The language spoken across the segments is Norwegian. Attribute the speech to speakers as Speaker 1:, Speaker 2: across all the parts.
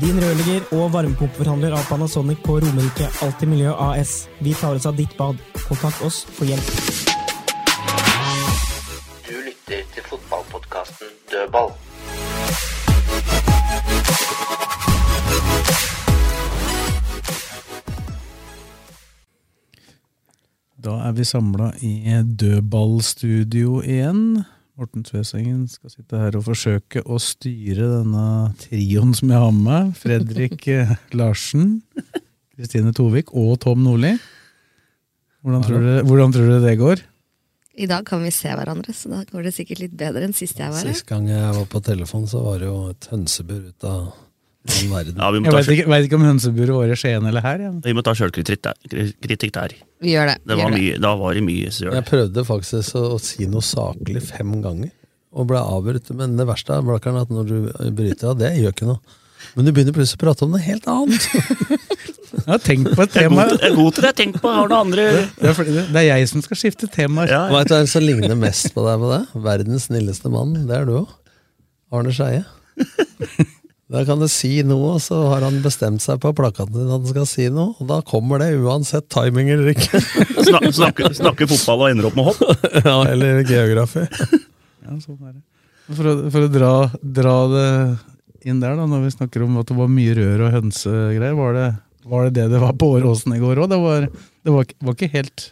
Speaker 1: Din rørlegger og varmepumpeforhandler av Panasonic på Romerike Alltid Miljø AS. Vi tar oss av ditt bad. Kontakt oss for hjelp.
Speaker 2: Du lytter til fotballpodkasten Dødball.
Speaker 3: Da er vi samla i dødballstudio igjen. Morten Tvesengen skal sitte her og forsøke å styre denne trioen som jeg har med. Fredrik eh, Larsen, Kristine Tovik og Tom Nordli. Hvordan tror dere, hvordan tror dere det går?
Speaker 4: I dag kan vi se hverandre, så da går det sikkert litt bedre enn sist jeg
Speaker 5: Sist gang jeg var på telefon, så var det jo et hønsebur ut av den verden.
Speaker 2: Ja, vi må ta,
Speaker 3: Jeg veit ikke, vet ikke om hønseburet var i Skien eller her. Ja.
Speaker 2: selv- vi må ta sjølkritikk der. kritikk der.
Speaker 4: Vi gjør det.
Speaker 2: Det var mye, da var det mye søl.
Speaker 5: Jeg prøvde faktisk å, å si noe saklig fem ganger, og ble avbrutt. Men det verste er Blakkaren, at når du bryter av, det gjør ikke noe. Men du begynner plutselig å prate om noe helt annet.
Speaker 3: Jeg har tenkt på et
Speaker 2: Jeg er
Speaker 3: tema.
Speaker 2: god til- jeg er god til det. Tenk på har du noe andre
Speaker 3: Det er, fordi det- det er jeg som skal skifte temaer.
Speaker 2: ja, ja.
Speaker 5: Veit du hvem som ligner mest på deg på det? Verdens snilleste mann. Det er du òg. Arne Skeie. Da kan du si noe, og så har han bestemt seg på plakaten din at han skal si noe. Og da kommer det, uansett timing eller ikke.
Speaker 2: Snak, snakke, snakke fotball og ender opp med hopp.
Speaker 5: Ja, eller geografi.
Speaker 3: Ja, sånn er det. For å, for å dra, dra det inn der, da, når vi snakker om at det var mye rør og hønsegreier, var det var det det det var på Åråsen i går òg? Det, var, det var, ikke- var ikke helt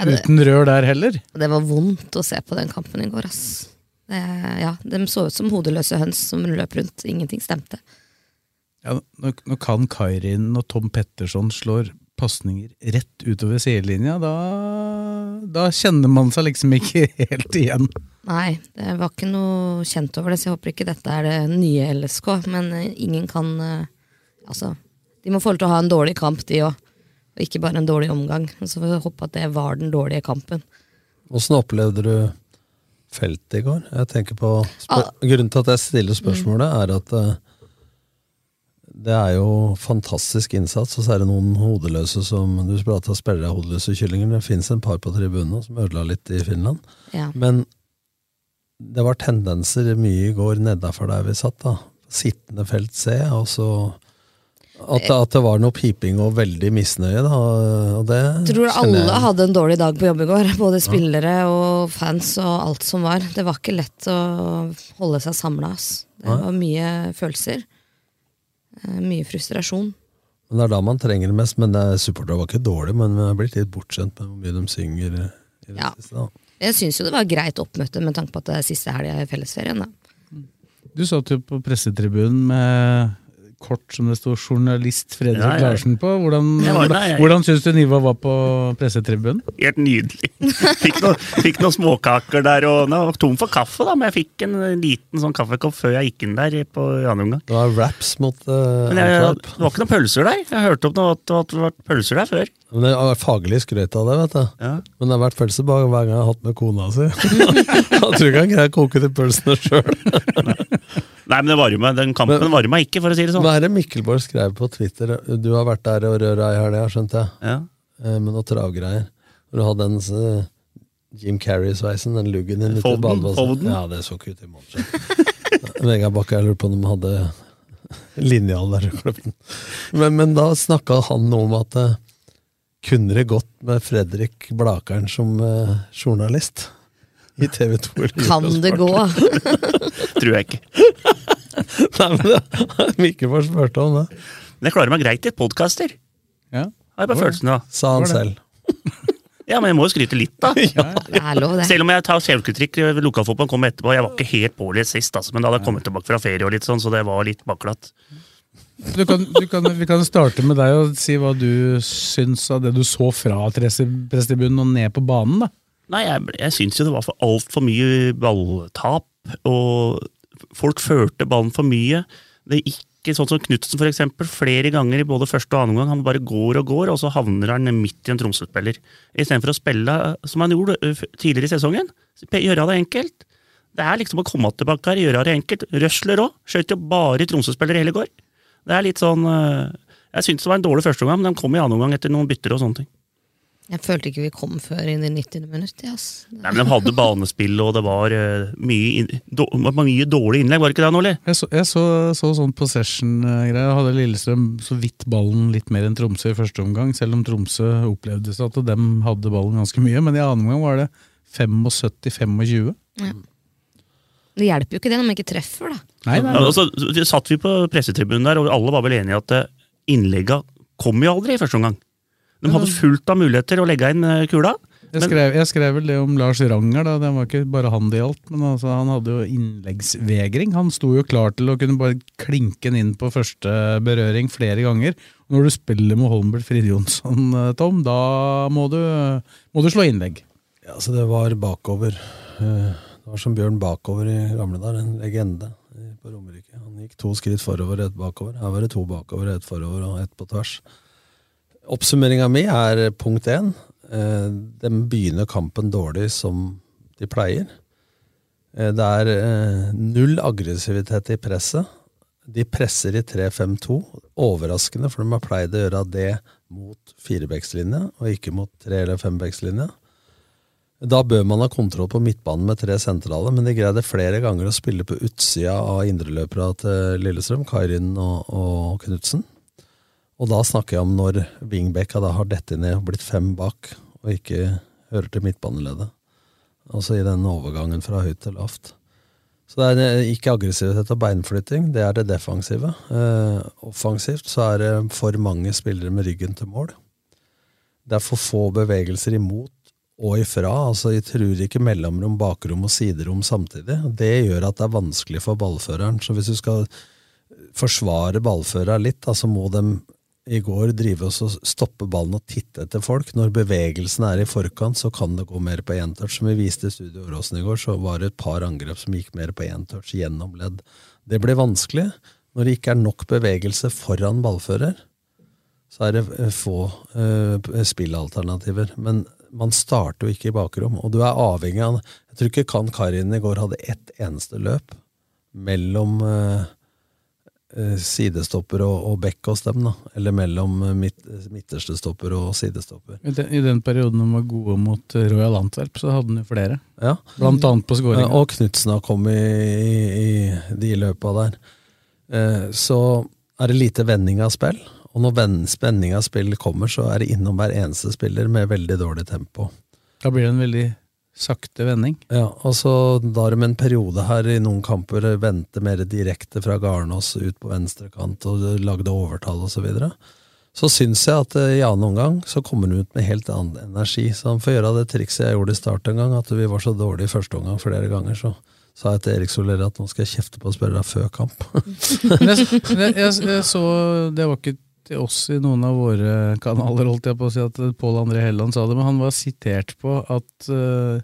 Speaker 3: uten rør der heller.
Speaker 4: Det var vondt å se på den kampen i går, ass. Det, ja, de så ut som hodeløse høns som løp rundt. Ingenting stemte.
Speaker 3: Ja, nå, nå kan Kairin og Tom Petterson slår pasninger rett utover sidelinja. Da, da kjenner man seg liksom ikke helt igjen.
Speaker 4: Nei, det var ikke noe kjent over det, så jeg håper ikke dette er det nye LSK. Men eh, ingen kan eh, Altså, de må få lov til å ha en dårlig kamp, de òg. Og ikke bare en dårlig omgang. Og Så får vi håpe at det var den dårlige kampen.
Speaker 5: Åssen opplevde du feltet i går? Jeg tenker på spør- Grunnen til at jeg stiller spørsmålet, er at eh, det er jo fantastisk innsats, og så er det noen hodeløse som Du prata spillere av hodeløse kyllinger, det fins en par på tribunene som ødela litt i Finland.
Speaker 4: Ja.
Speaker 5: Men det var tendenser mye i går nedafor der vi satt, da. Sittende felt C, og så at,
Speaker 4: Eh.
Speaker 5: at det var noe piping og veldig misnøye, da. Og det
Speaker 4: tror
Speaker 5: kjenner
Speaker 4: alle
Speaker 5: jeg-
Speaker 4: hadde en dårlig dag på jobb i går. Både spillere og fans og alt som var. Det var ikke lett å holde seg samla. Det var mye følelser. Eh, Mye frustrasjon.
Speaker 5: Men Det er da man trenger det mest. Men det er- supportere var ikke dårlig, men vi har blitt litt bortskjemt med hvor mye de synger. eh, i det
Speaker 4: Ja.
Speaker 5: siste, da.
Speaker 4: Jeg syns jo det var greit oppmøte med tanke på at det er siste helga i fellesferien. Da.
Speaker 3: Du satt jo på pressetribunen med kort som det står 'journalist Fredrik
Speaker 2: Ja, ja.
Speaker 3: Larsen' på. Hvordan,
Speaker 2: Jeg var der, jeg.
Speaker 3: hvordan syns du nivået var på pressetribunen?
Speaker 2: Helt nydelig. Fikk, noe, fikk noen småkaker der, og jeg var tom for kaffe, da, men jeg fikk en liten sånn kaffekopp før jeg gikk inn der på i andre omgang.
Speaker 5: Det var raps mot uh,
Speaker 2: Men jeg, det var ikke noen pølser der. Jeg hørte opp noe, at det hadde vært pølser der før.
Speaker 5: Men det har vært faglig skrøt av det, vet du.
Speaker 2: Ja.
Speaker 5: Men det har vært pølsebak hver gang jeg har hatt med kona si. Jeg tror ikke han greier å koke de pølsene sjøl.
Speaker 2: Nei, men det varma, den kampen varma ikke, for å si det sånn.
Speaker 5: Hva er det Mikkelborg skrev på Twitter? Du har vært der og røra i helga, skjønte jeg.
Speaker 2: Ja.
Speaker 5: Eh, Med noen travgreier. Når du hadde den eh, Jim Carrey-sveisen, den luggen din ute i
Speaker 2: Folden,
Speaker 5: badebassenget.
Speaker 2: Folden.
Speaker 5: Ja, det så ikke ut i morgen. Vegard Bakke, jeg lurer på om de hadde linjal der. og kløpt den. Men, men da snakka han noe om at eh, kunne det gått med Fredrik Blakeren som eh, journalist i TV 2?
Speaker 4: Kan det gå?
Speaker 2: Tror jeg ikke.
Speaker 5: Nei, men det, Mikkelfors spurte om det.
Speaker 2: Men jeg klarer meg greit i podkaster.
Speaker 3: Ja.
Speaker 2: Har jeg bare følelsen av.
Speaker 5: Sa han selv.
Speaker 2: Ja, men jeg må jo skryte litt, da.
Speaker 4: Det er lov, det.
Speaker 2: Selv om jeg tar selvkritikk ved lokalfotballen kommer etterpå. Jeg var ikke helt pålest sist, altså, men da hadde jeg kommet tilbake fra ferie og litt sånn, så det var litt baklatt.
Speaker 3: Du kan, du kan, vi kan starte med deg og si hva du syns av det du så fra presse- pressetribunen og ned på banen. da.
Speaker 2: Nei, jeg, ble- jeg syns jo det var for altfor mye balltap, og folk førte ballen for mye. Det er ikke sånn som Knutsen, for eksempel. Flere ganger i både første og annen omgang. Han bare går og går, og så havner han midt i en Tromsø-spiller. Istedenfor å spille eh, som han gjorde ø, f- tidligere i sesongen. Sp- Gjøre det enkelt. Det er liksom å komme tilbake her, gjøre det enkelt. Røsler òg. Skjøt jo bare Tromsø-spillere i hele går. Det er litt sånn ø, Jeg syns det var en dårlig første omgang, men den kom i annen omgang etter noen bytter og sånne ting.
Speaker 4: Jeg følte ikke vi kom før inn i 90. minutt. Ja, ass.
Speaker 2: Nei, men De hadde banespill, og det var eh, mye, inn, då, mye dårlige innlegg, var det ikke det, Nordli?
Speaker 3: Jeg så, jeg så, så sånn possession-greier. Hadde Lillestrøm så vidt ballen litt mer enn Tromsø i første omgang, selv om Tromsø opplevde seg at dem hadde ballen ganske mye. Men i annen omgang var det 75-25.
Speaker 4: Det hjelper jo ikke det når man ikke treffer, da.
Speaker 3: Nei, nei,
Speaker 2: Ja, altså, vi satt vi på pressetribunen der, og alle var vel enige i at eh, innlegga kom jo aldri i første omgang. De hadde fullt av muligheter å legge inn eh, kula.
Speaker 3: Jeg skrev, jeg skrev vel det om Lars Ranger, da. det var ikke bare han det gjaldt. Men altså, han hadde jo innleggsvegring. Han sto jo klar til å kunne bare klinke den inn på første berøring flere ganger. Og når du spiller med Holmbert Frid Jonsson, eh, Tom, da må du, må du slå innlegg.
Speaker 5: Ja, så det var bakover. Eh, Det var som Bjørn Bakover i gamle der, en legende i- på Romerike. Han gikk to skritt forover og ett bakover. Her var det to bakover, ett forover og ett på tvers. Oppsummeringa mi er punkt én. Eh, De begynner kampen dårlig som de pleier. Eh, Det er eh, null aggressivitet i presset. De presser i 3-5-2. Overraskende, for de har pleid å gjøre det mot firebekslinja, og ikke mot tre- eller fembekslinja. Da bør man ha kontroll på midtbanen med tre sentrale, men de greide flere ganger å spille på utsida av indreløpera til Lillestrøm, Kairin og, og Knutsen. Og da snakker jeg om når wingbacka da har dettet ned og blitt fem bak, og ikke hører til midtbaneleddet. Altså i den overgangen fra høyt til lavt. Så det er eh, ikke aggressivitet og beinflytting, det er det defensive. Eh, offensivt så er det for mange spillere med ryggen til mål. Det er for få bevegelser imot og ifra. altså Jeg tror ikke mellomrom, bakrom og siderom samtidig. Det gjør at det er vanskelig for ballføreren. Så hvis du skal forsvare ballføreren litt, da, så må de i går drive oss og stoppe ballen og titte etter folk. Når bevegelsen er i forkant, så kan det gå mer på én touch. Som vi viste i Studio Åråsen i går, så var det et par angrep som gikk mer på én touch gjennom ledd. Det blir vanskelig når det ikke er nok bevegelse foran ballfører så er det eh, få eh, spillalternativer. Men man starter jo ikke i bakrom, og du er avhengig av Jeg tror ikke Kan Karin i går hadde ett eneste løp mellom eh, eh, sidestopper og, og bekk hos dem, da. Eller mellom eh, midt, midterste stopper og sidestopper.
Speaker 3: I den, I den perioden de var gode mot eh, Royal Antwerp, så hadde han jo flere.
Speaker 5: Ja.
Speaker 3: Blant annet på
Speaker 5: Eh,
Speaker 3: skåringa.
Speaker 5: Og Knutsen har kommet i, i, i de løpa der. Eh, Så er det lite vending av spill. Og når ven- spenning av spill kommer, så er det innom hver eneste spiller med veldig dårlig tempo.
Speaker 3: Da blir det en veldig sakte vending.
Speaker 5: Ja, og så da har de en periode her i noen kamper vente mer direkte fra Garnås ut på venstre kant og lagde overtall osv. Så, videre. så syns jeg at eh, i annen omgang så kommer han ut med helt annen energi. Så han får gjøre det trikset jeg gjorde i start en gang, at vi var så dårlige i første omgang flere ganger. så sa jeg til Erik Soler at nå skal jeg kjefte på spillerne før kamp.
Speaker 3: Men jeg, men jeg, jeg, jeg så Det var ikke til oss i noen av våre kanaler, holdt jeg på å si, at Pål André Helland sa det, men han var sitert på at eh,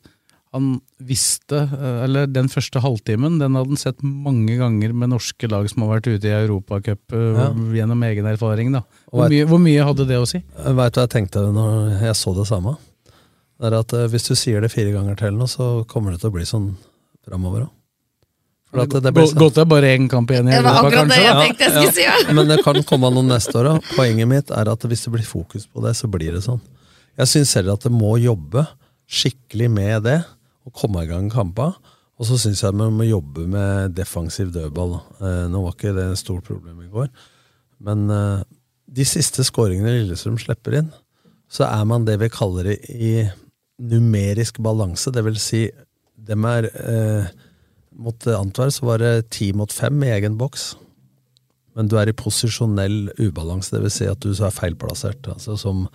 Speaker 3: han visste eh, Eller den første halvtimen, den hadde han sett mange ganger med norske lag som har vært ute i Europacup eh,
Speaker 5: Ja.
Speaker 3: gjennom egen erfaring, da.
Speaker 5: Og
Speaker 3: Hvor mye, hvor mye hadde det å si?
Speaker 5: Veit du hva jeg tenkte når jeg så det samme? Det er at eh, Hvis du sier det fire ganger til nå, så kommer det til å bli sånn framover òg.
Speaker 3: Godt det
Speaker 5: sånn-
Speaker 3: er bare én kamp igjen i
Speaker 4: Det var
Speaker 3: Europa,
Speaker 4: akkurat det
Speaker 3: kanskje?
Speaker 4: jeg
Speaker 3: da.
Speaker 4: tenkte jeg skulle si! Ja.
Speaker 5: Men det kan komme noen neste år òg. Poenget mitt er at hvis det blir fokus på det, så blir det sånn. Jeg syns heller at det må jobbe skikkelig med det, og komme i gang kampa. Og så syns jeg man må jobbe med defensiv dødball. da. Eh, Nå var ikke det et stort problem i går, men eh, de siste skåringene Lillestrøm slipper inn, så er man det vi kaller i, i numerisk balanse. Det vil si, dem er eh, mot Antwerp så var det ti mot fem i egen boks. Men du er i posisjonell ubalanse, det vil Si at du så er feilplassert. Altså som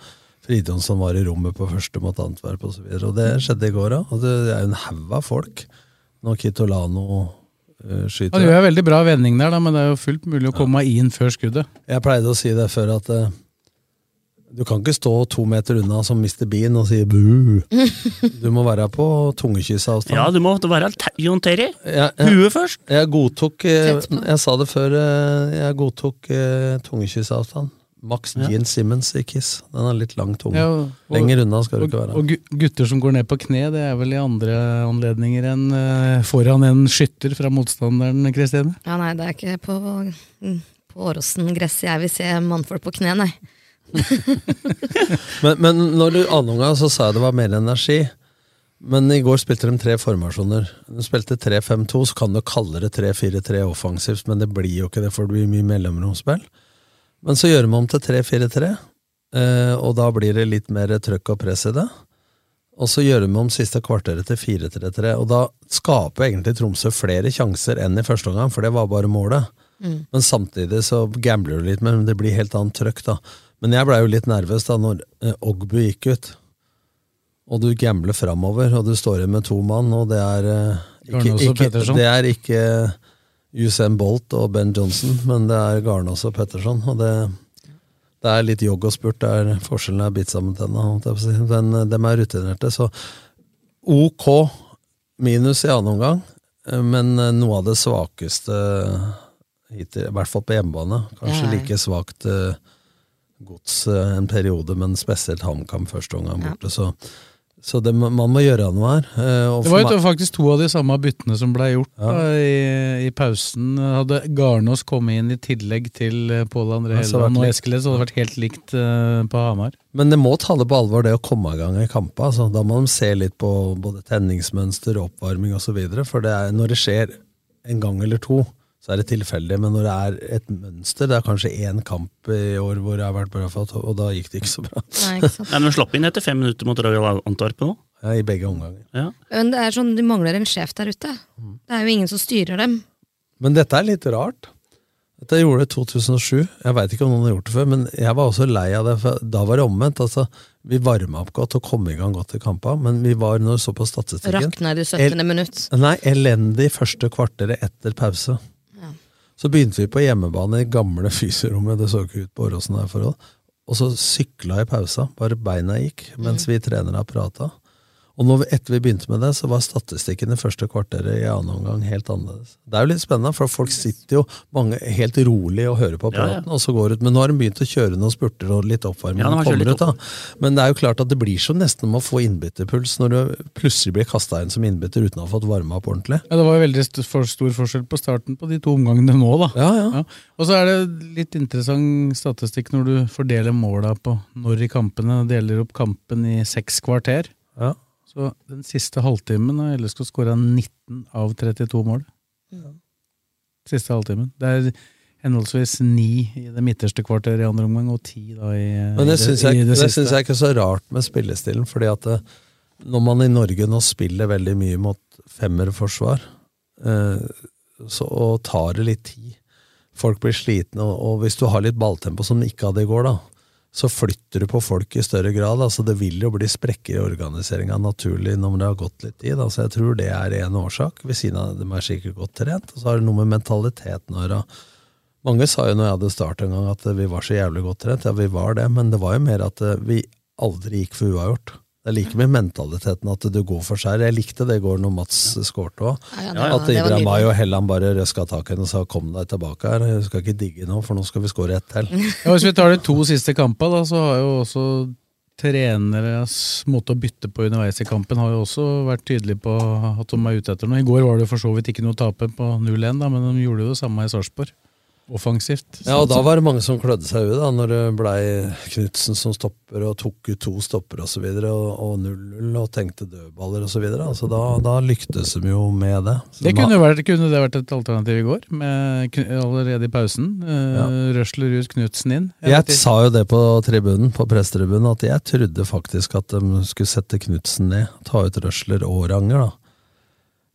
Speaker 5: Fridtjonsson var i rommet på første mot Antwerp osv. Og, og det skjedde i går òg. Og det er jo en haug av folk når Kitolano eh, skyter.
Speaker 3: Han gjør en veldig bra vending der, da, men det er jo fullt mulig å komme inn før skuddet.
Speaker 5: Jeg pleide å si det før at eh, du kan ikke stå to meter unna som Mr. Bean og si bu. Du må være på tungekysseavstand.
Speaker 2: Ja, du må være te- Jon Terry.
Speaker 5: Jeg- jeg-
Speaker 2: Huet først.
Speaker 5: Jeg godtok eh,
Speaker 2: Tett på.
Speaker 5: Jeg sa det før, eh, jeg godtok eh, tungekysseavstand. Max
Speaker 3: Ja.
Speaker 5: Gene Simmons i Kiss. Den er litt lang tunge.
Speaker 3: Ja, og-
Speaker 5: Lenger unna skal du ikke være.
Speaker 3: Og gu- gutter som går ned på kne, det er vel i andre anledninger enn eh, foran en skytter fra motstanderen, Kristine?
Speaker 4: Ja, nei, det er ikke på, mm, på Åråsen-gresset jeg vil se mannfolk på kne, nei.
Speaker 5: Men, men når du anunga, så sa jeg det var mer energi. Men i går spilte de tre formasjoner. De spilte 3-5-2, så kan du kalle det 3-4-3 offensivt, men det blir jo ikke det, for det blir mye mellomromsspill. Men så gjør vi om til 3-4-3, eh, og da blir det litt mer trøkk og press i det. Og så gjør vi om siste kvarteret til 4-3-3, og da skaper egentlig Tromsø flere sjanser enn i første omgang, for det var bare målet.
Speaker 6: Mm.
Speaker 5: Men samtidig så gambler du litt, men det blir helt annet trøkk, da. Men jeg blei jo litt nervøs da når eh, Ogbu gikk ut, og du gambler framover, og du står igjen med to mann, og det er eh, ikke,
Speaker 3: Garnås og
Speaker 5: ikke,
Speaker 3: Pettersson.
Speaker 5: Det er ikke Usain Bolt og Ben Johnson, men det er Garnås og Petterson, og det det er litt jogg og spurt, der forskjellen er bitt sammen tenna. holdt jeg på å si. Den, dem er rutinerte, så ok minus i annen omgang, eh, men eh, noe av det svakeste hittil, i hvert fall på hjemmebane. Kanskje
Speaker 6: Ja, ja.
Speaker 5: like svakt eh, gods eh, en periode, men spesielt HamKam første omgang borte. Så, så det, må- man må gjøre noe her. eh, og
Speaker 3: Det
Speaker 5: for
Speaker 3: var jo
Speaker 5: meg-
Speaker 3: faktisk to av de samme byttene som ble gjort da, i, i pausen. Hadde Garnås kommet inn i tillegg til eh, Pål André
Speaker 5: Ja, så hadde det vært
Speaker 3: Helland og
Speaker 5: likt.
Speaker 3: Eskeles, så hadde det vært helt likt eh, på Hamar.
Speaker 5: Men det må ta det på alvor, det å komme i gang i kamper. Altså. Da må de se litt på både tenningsmønster, oppvarming osv. For det er, når det skjer en gang eller to, så er det tilfeldig. Men når det er et mønster Det er kanskje én kamp i år hvor det har vært bra, for at- og da gikk det ikke så bra.
Speaker 2: Nei, men slapp inn etter fem minutter mot Royal Antwerp nå.
Speaker 5: Ja, I begge omganger.
Speaker 4: Men det er sånn, de mangler en sjef der ute. Det er jo ingen som styrer dem.
Speaker 5: Men dette er litt rart. Dette gjorde det i 2007. Jeg veit ikke om noen har gjort det før, men jeg var også lei av det. For da var det omvendt. Altså, vi varma opp godt og kom i gang godt i kampa, men vi var, når vi så på statistikken
Speaker 4: Rakna i det 17. minutt.
Speaker 5: Nei, elendig første kvarteret etter pause.
Speaker 4: Ja.
Speaker 5: Så begynte vi på hjemmebane i gamle fysiorommet, det så ikke ut på Åråsen her forhold. Og så sykla i pausa, bare beina gikk, mens
Speaker 2: Mm.
Speaker 5: vi trenere prata. Og når vi, etter vi begynte med det, så var statistikken i første kvarteret i annen omgang helt annerledes. Det er jo litt spennende, for folk sitter jo mange helt rolig og hører på
Speaker 2: Ja, ja.
Speaker 5: praten, og så går ut. Men nå har de begynt å kjøre noen spurter og litt oppvarming.
Speaker 2: Ja, de har
Speaker 5: og
Speaker 2: kjørt
Speaker 5: kommer
Speaker 2: litt
Speaker 5: ut, da. Men det er jo klart at det blir så nesten om å få innbytterpuls når du plutselig blir kasta inn som innbytter uten å ha fått varma opp ordentlig.
Speaker 3: Ja, Det var jo veldig st for stor forskjell på starten på Eh, de to omgangene nå, da. Ja. Og så er det litt interessant statistikk når du fordeler måla på når i kampene. Deler opp kampen i seks kvarter. Så den siste halvtimen har LSK skåra 19 av 32 mål. Siste halvtimen. Det er henholdsvis ni i det midterste kvarteret i andre omgang, og ti da i,
Speaker 5: Men
Speaker 3: i
Speaker 5: det syns jeg,
Speaker 3: i
Speaker 5: det synes jeg ikke er så rart med spillestilen, fordi at eh, når man i Norge nå spiller veldig mye mot femmerforsvar, eh, så og tar det litt tid. Folk blir slitne, og, og hvis du har litt balltempo som de ikke hadde i går, da, så flytter du på folk i større grad. altså Det vil jo bli sprekker i organiseringa naturlig når det har gått litt tid. altså Jeg tror det er én årsak. Ved siden av dem er sikkert godt trent, og så har det noe med mentaliteten å gjøre. Mange sa jo når jeg hadde start en gang at eh, vi var så jævlig godt trent. Ja, vi var det, men det var jo mer at eh, vi aldri gikk for uavgjort. Det er like mye mentaliteten at du går for seier. Jeg likte det i går når Mats skårte òg.
Speaker 6: Ja, ja, det var- det var
Speaker 5: At Ibrahim
Speaker 6: nydelig.
Speaker 5: May og Helland bare røska tak i henne og sa 'kom deg tilbake her', du skal ikke digge nå, for nå skal vi skåre ett til.
Speaker 3: Ja, hvis vi tar de to siste kampene, da, så har jo også treneres måte å bytte på underveis i kampen har jo også vært tydelig på at de er ute etter noe. I går var det for så vidt ikke noe å tape på 0-1, da, men de gjorde jo det samme i Sarpsborg. Offensivt.
Speaker 5: Ja, og da var det mange som klødde seg i huet, da, når det blei Knutsen som stopper, og tok ut to stopper og så videre, og- og 0-0, og tenkte dødballer og så videre. Altså, da, da lyktes de jo med det. Så de
Speaker 3: det kunne, jo vært, kunne det vært et alternativ i går, med, kn- allerede i pausen. Eh, Røsler ut Knutsen inn.
Speaker 5: Jeg
Speaker 3: vet ikke-
Speaker 5: sa jo det på tribunen, på presstribunen, at jeg trodde faktisk at de skulle sette Knutsen ned. Ta ut Røsler og Ranger,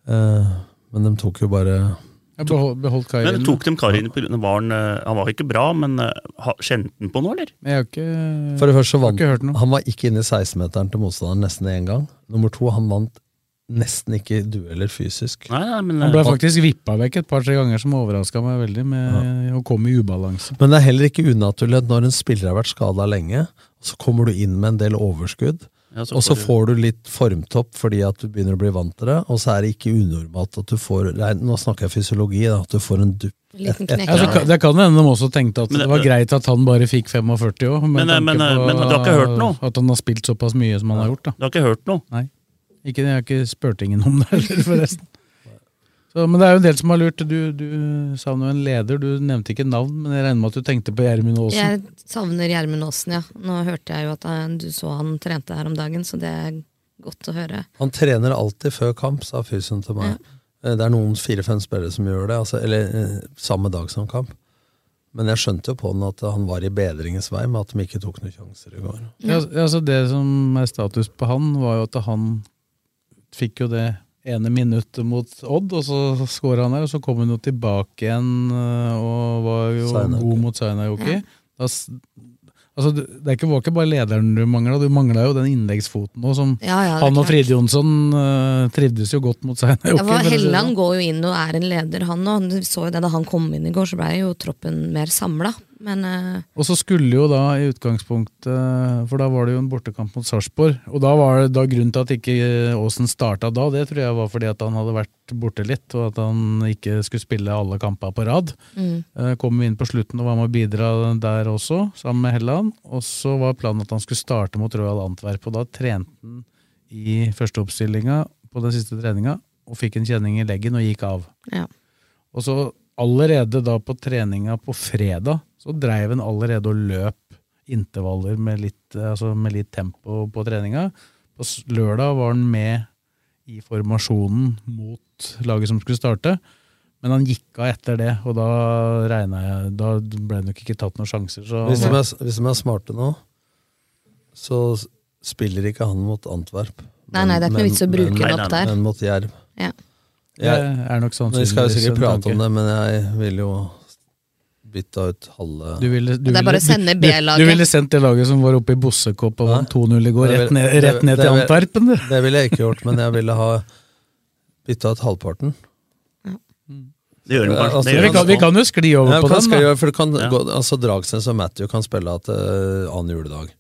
Speaker 5: da. Eh, Men de tok jo bare
Speaker 3: Jeg behold, beholdt Kari
Speaker 2: Men
Speaker 3: inne.
Speaker 2: tok de Karin på grunn av var han, eh, han var ikke bra, men eh, ha- kjente han på noe, eller?
Speaker 3: Men Jeg har ikke
Speaker 5: For det første så
Speaker 3: har
Speaker 5: vant
Speaker 3: ikke hørt noe.
Speaker 5: han var ikke inne i 16-meteren til motstanderen nesten én gang. Nummer to, han vant nesten ikke dueller fysisk.
Speaker 2: Nei, nei, men
Speaker 3: Han ble
Speaker 2: eh,
Speaker 3: faktisk vippa vekk et par-tre ganger, som overraska meg veldig, med å komme i ubalanse.
Speaker 5: Men det er heller ikke unaturlig at når en spiller har vært skada lenge, så kommer du inn med en del overskudd,
Speaker 2: ja,
Speaker 5: og så
Speaker 2: du-
Speaker 5: får du litt formtopp fordi at du begynner å bli vant til det, og så er det ikke unormalt at du får nei, Nå snakker jeg fysiologi, da, at du får en dupp.
Speaker 4: Liten
Speaker 5: Et- et-
Speaker 4: knekk.
Speaker 3: Ja, så kan, det kan hende de også tenkte at
Speaker 2: Men det-
Speaker 3: det var greit at han bare fikk 45 òg.
Speaker 2: Men, eh, men, eh, men du har ikke hørt noe?
Speaker 3: At han har spilt såpass mye som han har gjort. da.
Speaker 2: Du har ikke hørt noe?
Speaker 3: Ikke, jeg har ikke spurt ingen om det heller, forresten. Så, men det er jo en del som har lurt. Du, du savner jo en leder. Du nevnte ikke navn, men jeg regner med at du tenkte på Gjermund Aasen.
Speaker 4: Jeg savner Gjermund Aasen, ja. Nå hørte jeg jo at eh, du så han trente her om dagen, så det er godt å høre.
Speaker 5: Han trener alltid før kamp, sa fysioen til meg. Eh, Det er noen fire-fem spillere som gjør det, altså, eller eh, samme dag som kamp. Men jeg skjønte jo på den at han var i bedringens vei med at de ikke tok noen sjanser i går.
Speaker 3: Ja, al- altså det som er status på han, var jo at han fikk jo det ene minuttet mot Odd, og så skåra han der, og så kom han jo tilbake igjen øh, og var jo
Speaker 5: Sainajoki.
Speaker 3: god mot Sainajoki. Da s- Altså, du- det er ikke, var ikke bare lederen du mangla, du mangla jo den innleggsfoten òg, som
Speaker 4: Ja, ja, det er
Speaker 3: han
Speaker 4: klart.
Speaker 3: og Fride Jonsson øh, trivdes jo godt mot Sainajoki.
Speaker 4: Ja,
Speaker 3: for å
Speaker 4: for
Speaker 3: si det
Speaker 4: Helland
Speaker 3: sånn.
Speaker 4: går jo inn og er en leder, han òg. Du så jo det da han kom inn i går, så blei jo troppen mer samla. Men eh,
Speaker 3: Og så skulle jo da i utgangspunktet, for da var det jo en bortekamp mot Sarpsborg, og da var det da grunnen til at ikke eh, Aasen starta da, det tror jeg var fordi at han hadde vært borte litt, og at han ikke skulle spille alle kamper på rad.
Speaker 4: mm.
Speaker 3: Eh, Kom inn på slutten og var med å bidra der også, sammen med Helland, og så var planen at han skulle starte mot Royal Antwerp, og da trente han i førsteoppstillinga på den siste treninga, og fikk en kjenning i leggen og gikk av.
Speaker 4: ja.
Speaker 3: Og så allerede da på treninga på fredag, så dreiv han allerede og løp intervaller med litt, eh, altså med litt tempo på treninga. På s- lørdag var han med i formasjonen mot laget som skulle starte, men han gikk av etter det, og da regna jeg Da ble det nok ikke tatt noen sjanser. Så
Speaker 5: Hvis de
Speaker 3: han var,
Speaker 5: er, hvis de er smarte nå, så s- spiller ikke han mot Antwerp.
Speaker 4: Nei, nei, det er ikke noe vits å bruke
Speaker 2: Nei,
Speaker 4: den
Speaker 2: nei,
Speaker 4: opp
Speaker 2: nei,
Speaker 4: der.
Speaker 5: Men mot Jerv.
Speaker 4: Ja.
Speaker 3: det er nok
Speaker 5: Vi skal jo
Speaker 3: sannsynligvis
Speaker 5: sikkert
Speaker 3: en
Speaker 5: prate om
Speaker 3: tanke.
Speaker 5: det, men jeg ville jo bytta ut halve
Speaker 3: Du ville, du
Speaker 4: Det er bare å
Speaker 3: ville-
Speaker 4: sende
Speaker 3: du-
Speaker 4: B-laget.
Speaker 3: Du ville sendt det laget som var oppe i Bossekopp og vant 2-0 i går,
Speaker 5: Det er
Speaker 3: rett
Speaker 5: vel-
Speaker 3: ned, rett ned
Speaker 5: det er
Speaker 3: til
Speaker 5: vel-
Speaker 3: Antwerpen. du.
Speaker 5: Det ville jeg ikke gjort, men jeg ville ha bytta ut halvparten.
Speaker 2: Det gjør de kanskje.
Speaker 5: Altså,
Speaker 2: det
Speaker 3: Ja,
Speaker 2: gjør
Speaker 3: vi,
Speaker 2: de
Speaker 3: kan, vi
Speaker 2: kanskje.
Speaker 3: kan jo skli over
Speaker 5: Ja,
Speaker 3: på
Speaker 5: hva
Speaker 3: den.
Speaker 5: skal
Speaker 3: Da.
Speaker 5: jeg gjøre? For det kan
Speaker 2: Ja.
Speaker 5: gå, altså Dragsnes og Matthew kan spille at uh, annen juledag.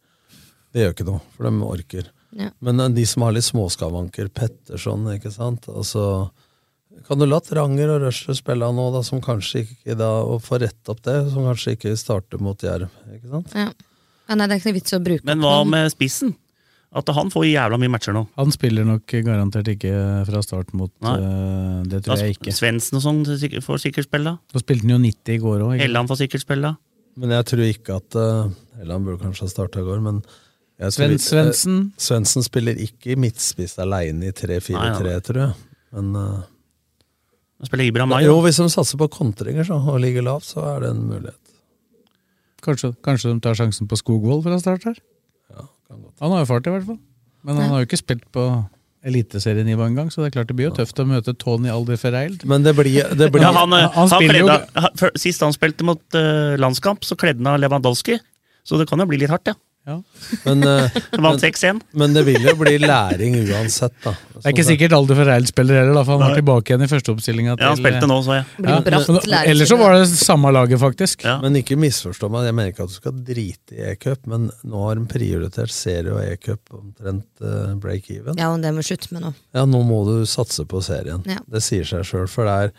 Speaker 5: Det gjør ikke noe, for de orker.
Speaker 4: Ja.
Speaker 5: Men eh, de som har litt småskavanker, Petterson, ikke sant altså, Kan du la Ranger og Rusher spille nå, da, som kanskje ikke da, og få rett opp det, som kanskje ikke starter mot Jerv? ikke sant?
Speaker 4: ja. Ja, Nei, det er ikke noe vits å bruke
Speaker 2: Men
Speaker 4: opp
Speaker 2: hva
Speaker 4: den.
Speaker 2: med spissen? At han får jævla mye matcher nå.
Speaker 3: Han spiller nok garantert ikke fra start mot
Speaker 2: Nei.
Speaker 3: eh, Det tror jeg ikke.
Speaker 2: Svendsen og sånn sikk- får sikkert spille.
Speaker 3: Så spilte han jo 90 i går òg.
Speaker 2: Helland får sikkert spille.
Speaker 5: Men jeg tror ikke at eh, Eller han burde kanskje ha starta i går, men jeg tror
Speaker 3: Sven,
Speaker 5: ikke-
Speaker 3: Svendsen.
Speaker 5: eh, Svendsen spiller ikke i midtspiss aleine i 3-4-3,
Speaker 2: Nei,
Speaker 5: tror jeg. Men eh,
Speaker 2: Han spiller Ibra Mai.
Speaker 5: jo, hvis de satser på kontringer så, og ligger lavt, så er det en mulighet.
Speaker 3: Kanskje, kanskje de tar sjansen på Skogvold fra start her? Han har jo fart, i hvert fall. Men han har jo ikke spilt på eliteserienivå engang, så det er klart det blir jo tøft å møte Tony Alder Ferreild.
Speaker 5: Men det blir, det blir
Speaker 2: Ja, han, eh, han
Speaker 3: Han spiller jo-
Speaker 2: kledde- han- før- Sist han spilte mot eh, landskamp, så kledde han av Lewandowski. Så det kan jo bli litt hardt, ja.
Speaker 3: Ja.
Speaker 5: men, eh,
Speaker 2: Han vant 6-1.
Speaker 5: men det vil jo bli læring uansett, da.
Speaker 3: Det er ikke sikkert Alder Ferreild spiller heller, da, for han var
Speaker 2: Nei.
Speaker 3: tilbake igjen i førsteoppstillinga.
Speaker 2: Ja, han spilte nå, så jeg.
Speaker 4: Blir jo bratt lærer-
Speaker 3: Eller så var det samme laget, faktisk.
Speaker 2: Ja.
Speaker 5: Men ikke misforstå meg, jeg mener ikke at du skal drite i e-cup, men nå har de prioritert serie og e-cup omtrent eh, break-even. Ja.
Speaker 4: Ja, og det må vi slutte med nå.
Speaker 5: nå må du satse på serien.
Speaker 4: Ja.
Speaker 5: Det sier seg sjøl, for det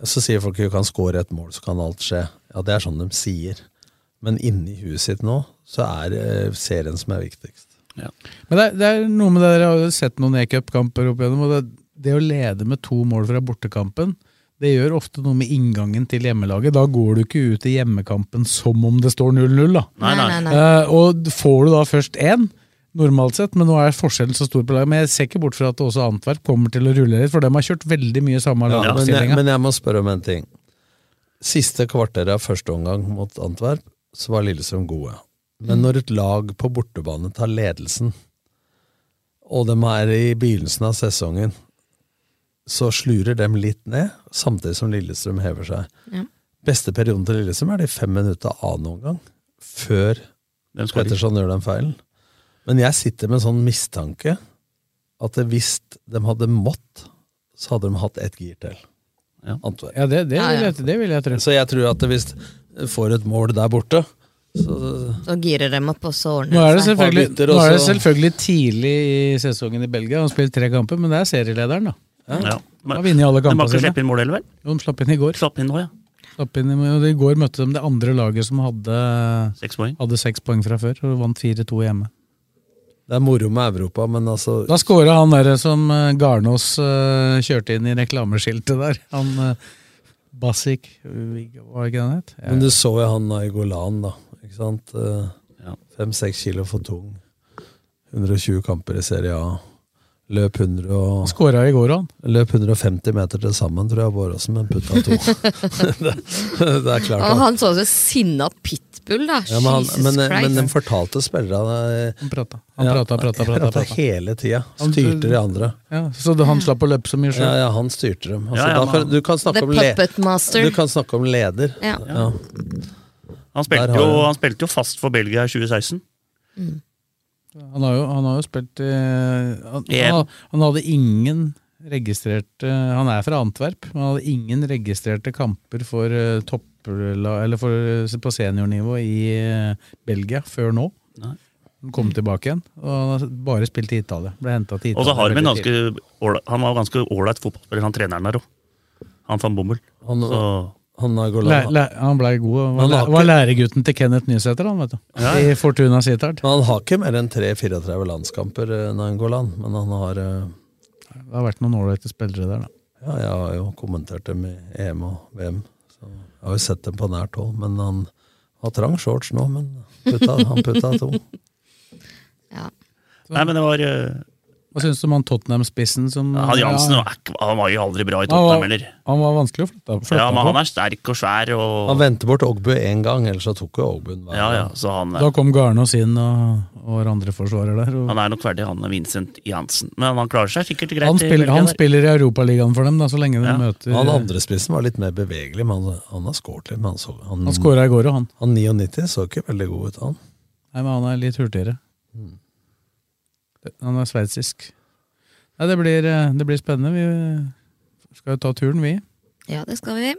Speaker 5: er Så sier folk at du kan score et mål, så kan alt skje. Ja, det er sånn de sier. Men inni huet sitt nå, så er det serien som er viktigst.
Speaker 3: Men det er, det er noe med det, dere har jo sett noen e-cupkamper opp igjennom, og det, det å lede med to mål fra bortekampen, det gjør ofte noe med inngangen til hjemmelaget. Da går du ikke ut i hjemmekampen som om det står 0-0, da.
Speaker 2: Nei, nei.
Speaker 3: Eh, og får du da først én, normalt sett, men nå er forskjellen så stor på laget. Men jeg ser ikke bort fra at også Antwerp kommer til å rulle litt, for de har kjørt veldig mye
Speaker 5: Ja,
Speaker 3: samme
Speaker 5: men, jeg,
Speaker 3: lagoppstillinga.
Speaker 5: men jeg må spørre om en ting. Siste kvarteret av første omgang mot Antwerp, så var Lillestrøm gode. Men når et lag på bortebane tar ledelsen, og de er i begynnelsen av sesongen, så slurer dem litt ned, samtidig som Lillestrøm hever seg.
Speaker 4: Ja.
Speaker 5: Beste perioden til Lillestrøm er de fem minutter av noen gang, før
Speaker 2: skårer.
Speaker 5: Petterson gjør den feilen. Men jeg sitter med en sånn mistanke at hvis de hadde mått, så hadde de hatt ett gir til.
Speaker 2: Ja,
Speaker 3: ja det, det, vil jeg, det vil jeg tro.
Speaker 5: Så jeg tror at hvis de får et mål der borte, så
Speaker 4: Så girer dem opp, og så ordner
Speaker 3: Nå er, det
Speaker 4: seg.
Speaker 3: selvfølgelig,
Speaker 5: bytter,
Speaker 3: nå
Speaker 5: og
Speaker 3: er det
Speaker 5: så-
Speaker 3: selvfølgelig tidlig i sesongen i Belgia. Han spilt tre kamper, men det er serielederen, da.
Speaker 2: Ja.
Speaker 3: Han har vunnet alle
Speaker 2: De har
Speaker 3: kampene
Speaker 2: ikke
Speaker 3: sine.
Speaker 2: sluppet inn mål heller, vel?
Speaker 3: Jo, De slapp inn i går.
Speaker 2: Slapp inn nå, ja.
Speaker 3: Slapp inn, i- og I går møtte de det andre laget som hadde
Speaker 2: Seks poeng.
Speaker 3: hadde seks poeng fra før, og vant 4-2 hjemme.
Speaker 5: Det er moro med Europa, men altså
Speaker 3: Da skåra han derre som eh, Garnås eh, kjørte inn i reklameskiltet der. Han eh, Basik, var det ikke det han het?
Speaker 5: Men du så jo han Naigolan, da. Ikke sant?
Speaker 2: Ja.
Speaker 5: Fem-seks kilo for tung. 120 kamper i Serie A. Løp 100 og
Speaker 3: Han skåra i går, han.
Speaker 5: Løp 150 meter til sammen, tror jeg, Båråsen, men putta to. det, det er klart.
Speaker 4: Og
Speaker 5: at-
Speaker 4: han så ut som en sinna pitbull, da.
Speaker 5: Ja, men, han,
Speaker 4: Jesus
Speaker 5: men, eh, men
Speaker 4: Christ.
Speaker 5: de fortalte eh, spillerne
Speaker 3: Han prata, han prata, prata, prata,
Speaker 5: prata
Speaker 3: prata.
Speaker 5: hele tida. Styrte de andre.
Speaker 3: Ja, så han slapp å løpe så
Speaker 5: Ja,
Speaker 3: mye sjøl.
Speaker 5: ja, han styrte dem. Altså,
Speaker 2: Ja, ja,
Speaker 5: da
Speaker 2: men
Speaker 5: kan- du, kan snakke
Speaker 4: The
Speaker 5: om le-
Speaker 4: puppet master.
Speaker 5: du kan snakke om leder.
Speaker 4: Ja.
Speaker 5: Ja.
Speaker 2: Han
Speaker 5: Der
Speaker 2: spilte,
Speaker 5: har
Speaker 2: jo,
Speaker 5: jeg-
Speaker 2: han spilte jo fast for Belgia i 2016.
Speaker 3: Han, har jo- han har jo spilt eh, han,
Speaker 2: EM.
Speaker 3: han, han hadde ingen registrerte Han er fra Antwerp, men han hadde ingen registrerte kamper for eh, toppla, eller for, eh, på seniornivå i eh, Belgia før nå.
Speaker 2: Nei.
Speaker 3: Han kom tilbake igjen, og han har bare spilt i Italia. Ble hentet til
Speaker 2: Og
Speaker 3: Italia.
Speaker 2: så har de en
Speaker 3: veldig tidlig.
Speaker 2: ganske ålreit- Han var en ganske ålreit fotballspiller, han treneren der òg. Han van Bommel.
Speaker 5: Han,
Speaker 2: Så,
Speaker 5: han Naigolan
Speaker 3: Læ, læ, han blei god. og Var,
Speaker 5: Han har
Speaker 3: læ- var læregutten til Kenneth Nysæter, han, vet du.
Speaker 2: Ja.
Speaker 3: I Fortuna Sittard.
Speaker 5: Men han har ikke mer enn 3-34 landskamper, eh, Nangolan. Men han har eh,
Speaker 3: Det har vært noen ålreite spillere der, da.
Speaker 5: Ja, jeg har jo kommentert dem i EM og VM. Så jeg har jo sett dem på nært hold. Men han har trang shorts nå, men putta, han putta to.
Speaker 4: Ja.
Speaker 2: nei, men det var eh,
Speaker 3: Hva syns du om han Tottenham-spissen som
Speaker 2: Han Jansen
Speaker 3: Ja,
Speaker 2: var ikke- han var jo aldri bra i
Speaker 3: han,
Speaker 2: Tottenham
Speaker 3: var,
Speaker 2: heller.
Speaker 3: han var vanskelig å flytte, flytte
Speaker 2: Ja, men
Speaker 3: på.
Speaker 2: han er sterk og svær
Speaker 5: Han
Speaker 2: og
Speaker 5: vendte bort Ogbu én gang, ellers så tok jo Ogbu den hver
Speaker 2: Ja, ja,
Speaker 5: gang.
Speaker 2: så han,
Speaker 3: Da kom Garnås inn og, og var andre forsvarer der. Og
Speaker 2: han er nok verdig, han Vincent Jansen. Men han klarer seg sikkert greit.
Speaker 3: han,
Speaker 2: i
Speaker 3: spiller,
Speaker 2: Belgia
Speaker 3: han
Speaker 2: der.
Speaker 3: spiller i Europaligaen for dem, da, så lenge de
Speaker 2: Ja.
Speaker 3: møter
Speaker 5: Han andre spissen var litt mer bevegelig, men han, han har skåret litt. Men han, så, han,
Speaker 3: Han skåra i går, og han.
Speaker 5: han 99 så ikke veldig god ut, han.
Speaker 3: Nei, men han er litt hurtigere.
Speaker 5: Mm.
Speaker 3: Han er sveitsisk. Nei, det blir, eh, det blir spennende. Vi skal jo ta turen, vi.
Speaker 4: ja, det skal vi.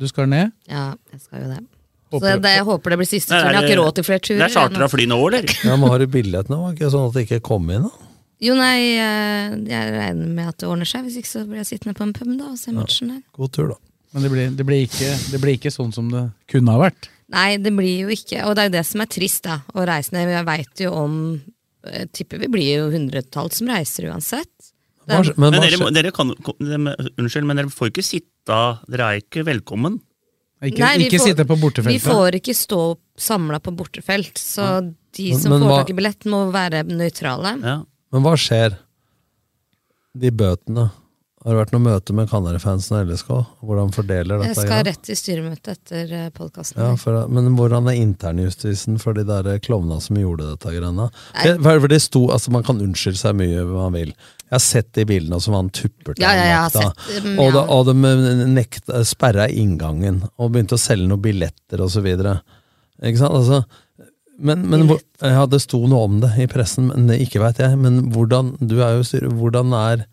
Speaker 3: Du skal ned.
Speaker 4: Ja, jeg skal jo det. Så
Speaker 3: Håper,
Speaker 4: det, jeg håper det blir siste
Speaker 2: Nei,
Speaker 4: turen. Jeg har
Speaker 2: det-
Speaker 4: ikke råd til flere turer.
Speaker 2: Det er charter av
Speaker 4: jeg nå.
Speaker 2: fly nå, eller?
Speaker 5: Ja, men har du billett nå? Var det ikke sånn at det ikke kom inn, da?
Speaker 4: Jo, nei, eh, jeg regner med at det ordner seg. Hvis ikke så blir jeg sittende på en pub da og se matchen der.
Speaker 5: God tur, da.
Speaker 3: Men det blir, det, blir ikke, det blir ikke sånn som det kunne ha vært.
Speaker 4: Nei, det blir jo ikke Og det er jo det som er trist, da. Å reise ned. Jeg veit jo om Jeg tipper vi blir jo hundretall som reiser uansett. Det
Speaker 5: Hva
Speaker 4: er,
Speaker 5: skj- Men,
Speaker 2: Men
Speaker 5: hva
Speaker 2: dere, må-
Speaker 5: skj-
Speaker 2: dere kan, dem- unnskyld, men dere får ikke sitte Dere er ikke velkommen.
Speaker 3: Ikke,
Speaker 4: Nei, vi
Speaker 3: ikke
Speaker 4: får-
Speaker 3: sitte på
Speaker 4: vi
Speaker 3: bortefeltet.
Speaker 4: får ikke stå samla på bortefelt, så de som
Speaker 5: Men- men
Speaker 4: får
Speaker 5: hva-
Speaker 4: tak i billett, må være nøytrale.
Speaker 2: Ja.
Speaker 5: men hva skjer? De bøtene. Har det vært noe møte med Kanarifansen og LSK? Hvordan fordeler dette?
Speaker 4: Jeg skal
Speaker 5: igjen?
Speaker 4: rett i styremøte etter eh, podkasten.
Speaker 5: Ja, for, men hvordan er internjustisen for de der klovna som gjorde dette greiene? For, for det sto, altså Man kan unnskylde seg mye man vil. Jeg har sett de bildene som han tupper til
Speaker 4: Ja, ja, jeg
Speaker 5: han
Speaker 4: har sett dem,
Speaker 5: Og, da,
Speaker 4: ja.
Speaker 5: og de eh, nekta, sperra inngangen og begynte å selge noen billetter osv. Ikke sant? Altså, men, men hvor, ja, det sto noe om det i pressen, men det ikke veit jeg. Men hvordan, du er jo styre, hvordan er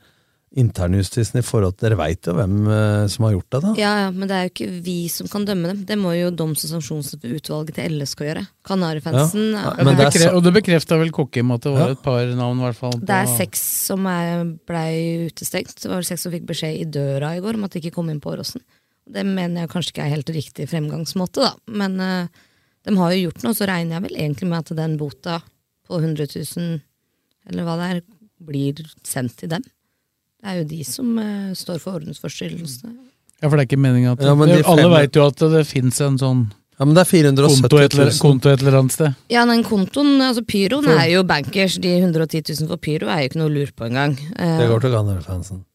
Speaker 5: internjustisen i forhold til Dere veit jo hvem eh, som har gjort det, da?
Speaker 4: Ja, ja, men det er jo ikke vi som kan dømme dem. Det må jo doms- og sanksjonsutvalget til LSK gjøre. Kanarifansen.
Speaker 5: Ja,
Speaker 4: er-
Speaker 3: Ja,
Speaker 5: men det
Speaker 3: det
Speaker 5: er
Speaker 3: bekre-
Speaker 5: så-
Speaker 3: og det bekrefta vel Kokkim at det var
Speaker 5: Ja.
Speaker 3: et par navn, i hvert fall.
Speaker 4: det er seks som er, blei utestengt. Det var vel seks som fikk beskjed i døra i går om at de ikke kom inn på Åråsen. Det mener jeg kanskje ikke er helt riktig fremgangsmåte, da. Men eh, de har jo gjort noe, så regner jeg vel egentlig med at den bota på 100 000, eller hva det er, blir sendt til dem. Det er jo de som eh, står for ordensforstyrrelsene.
Speaker 3: Ja, for det er ikke meningen at
Speaker 5: Ja, men de
Speaker 3: det, Alle
Speaker 5: fem-
Speaker 3: veit jo at det fins en sånn
Speaker 5: Ja, men det er
Speaker 3: konto et,
Speaker 5: 470
Speaker 3: eller,
Speaker 5: 000
Speaker 3: konto et eller annet sted.
Speaker 4: Ja, den kontoen, altså pyroen er jo bankers. De 110 000 for pyro er jo ikke noe lur på engang. Eh,
Speaker 5: Det går til Ghana-fansen.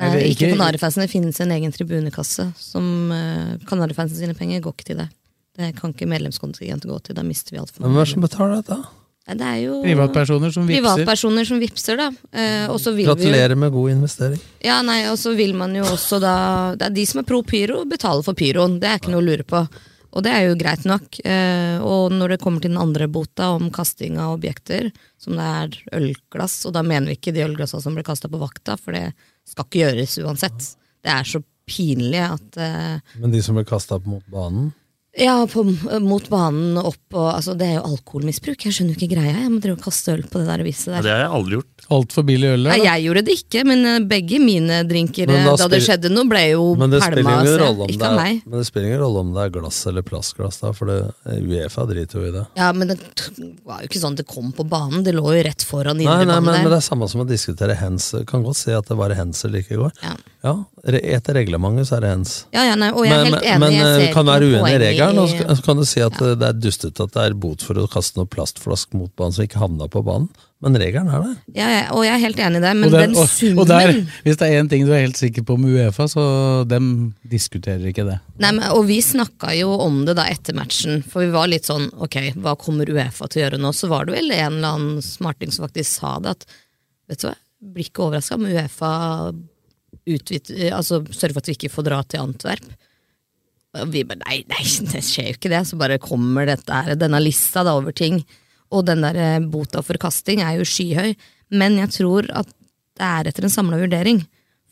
Speaker 4: Nei,
Speaker 3: Eller
Speaker 4: ikke
Speaker 3: ikke-
Speaker 4: på Kanarifansen. Det finnes en egen tribunekasse. Som eh, Kanarifansen sine penger går ikke til det. Det kan ikke medlemskontingent gå til. Da mister vi altfor
Speaker 5: Men hvem er det som
Speaker 4: mange.
Speaker 5: betaler dette?
Speaker 4: Nei, Det er jo
Speaker 3: Privatpersoner som vipser.
Speaker 4: Privatpersoner som vipser, da. Eh, og så vil
Speaker 5: Gratulerer
Speaker 4: vi jo,
Speaker 5: med god investering.
Speaker 4: ja, nei, og så vil man jo også da Det er de som er pro pyro, betaler for pyroen. Det er ikke noe å lure på. Og det er jo greit nok. Eh, og når det kommer til den andre bota om kasting av objekter, som det er ølglass, og da mener vi ikke de ølglassa som ble kasta på vakta, for det skal ikke gjøres uansett. Det er så pinlig at eh,
Speaker 5: Men de som ble kasta opp mot banen
Speaker 4: ja, på, mot banen opp og altså, Det er jo alkoholmisbruk. Jeg skjønner jo ikke greia. Jeg må drive og kaste øl på det der viset
Speaker 2: Ja,
Speaker 4: der.
Speaker 2: det har jeg aldri gjort.
Speaker 3: Altfor billig øl?
Speaker 4: Nei, jeg gjorde det ikke, men eh, begge mine drinker
Speaker 5: Men
Speaker 4: eh,
Speaker 5: da
Speaker 4: da, det
Speaker 5: spiller-
Speaker 4: skjedde noe, ble jo
Speaker 5: Men det spiller
Speaker 4: pælma.
Speaker 5: ingen
Speaker 4: så-
Speaker 5: rolle om det
Speaker 4: Ikke av
Speaker 5: er,
Speaker 4: meg.
Speaker 5: men det spiller ingen rolle om det er glass eller plastglass, da, for det, Uefa driter jo i det.
Speaker 4: Ja, men det t- var jo ikke sånn at det kom på banen. Det lå jo rett foran
Speaker 5: Nei, nei, men,
Speaker 4: indrebanen
Speaker 5: men
Speaker 4: der.
Speaker 5: det er samme som å diskutere hens. Kan godt si at det var hens eller ikke i går.
Speaker 4: Ja.
Speaker 5: re- etter reglementet så er det hens.
Speaker 4: Ja, ja, nei, og jeg er helt enig,
Speaker 5: men
Speaker 4: jeg ser
Speaker 5: eh, kan
Speaker 4: ikke
Speaker 5: være
Speaker 4: noe
Speaker 5: uenig i
Speaker 4: poeng
Speaker 5: regelen, og
Speaker 4: i-
Speaker 5: så kan- så kan du si at eh, det er dustete at det er bot for å kaste noe plastflask mot banen som ikke havna på banen, men regelen er der.
Speaker 4: Ja, ja, og jeg er helt enig i det, men
Speaker 3: og der,
Speaker 4: den
Speaker 3: og,
Speaker 4: summen
Speaker 3: og der, hvis det er én ting du er helt sikker på med Uefa, så dem diskuterer ikke det.
Speaker 4: Nei, men, og vi snakka jo om det da etter matchen, for vi var litt sånn ok, hva kommer Uefa til å gjøre nå? Så var det vel en eller annen smarting som faktisk sa det, at vet du hva, blir ikke overraska om Uefa utvid, altså, sørger for at vi ikke får dra til Antwerp. Og vi bare nei, nei, det skjer jo ikke det. Så bare kommer dette her, denne lista da over ting. Og den der eh, bota for kasting er jo skyhøy. Men jeg tror at det er etter en samla vurdering.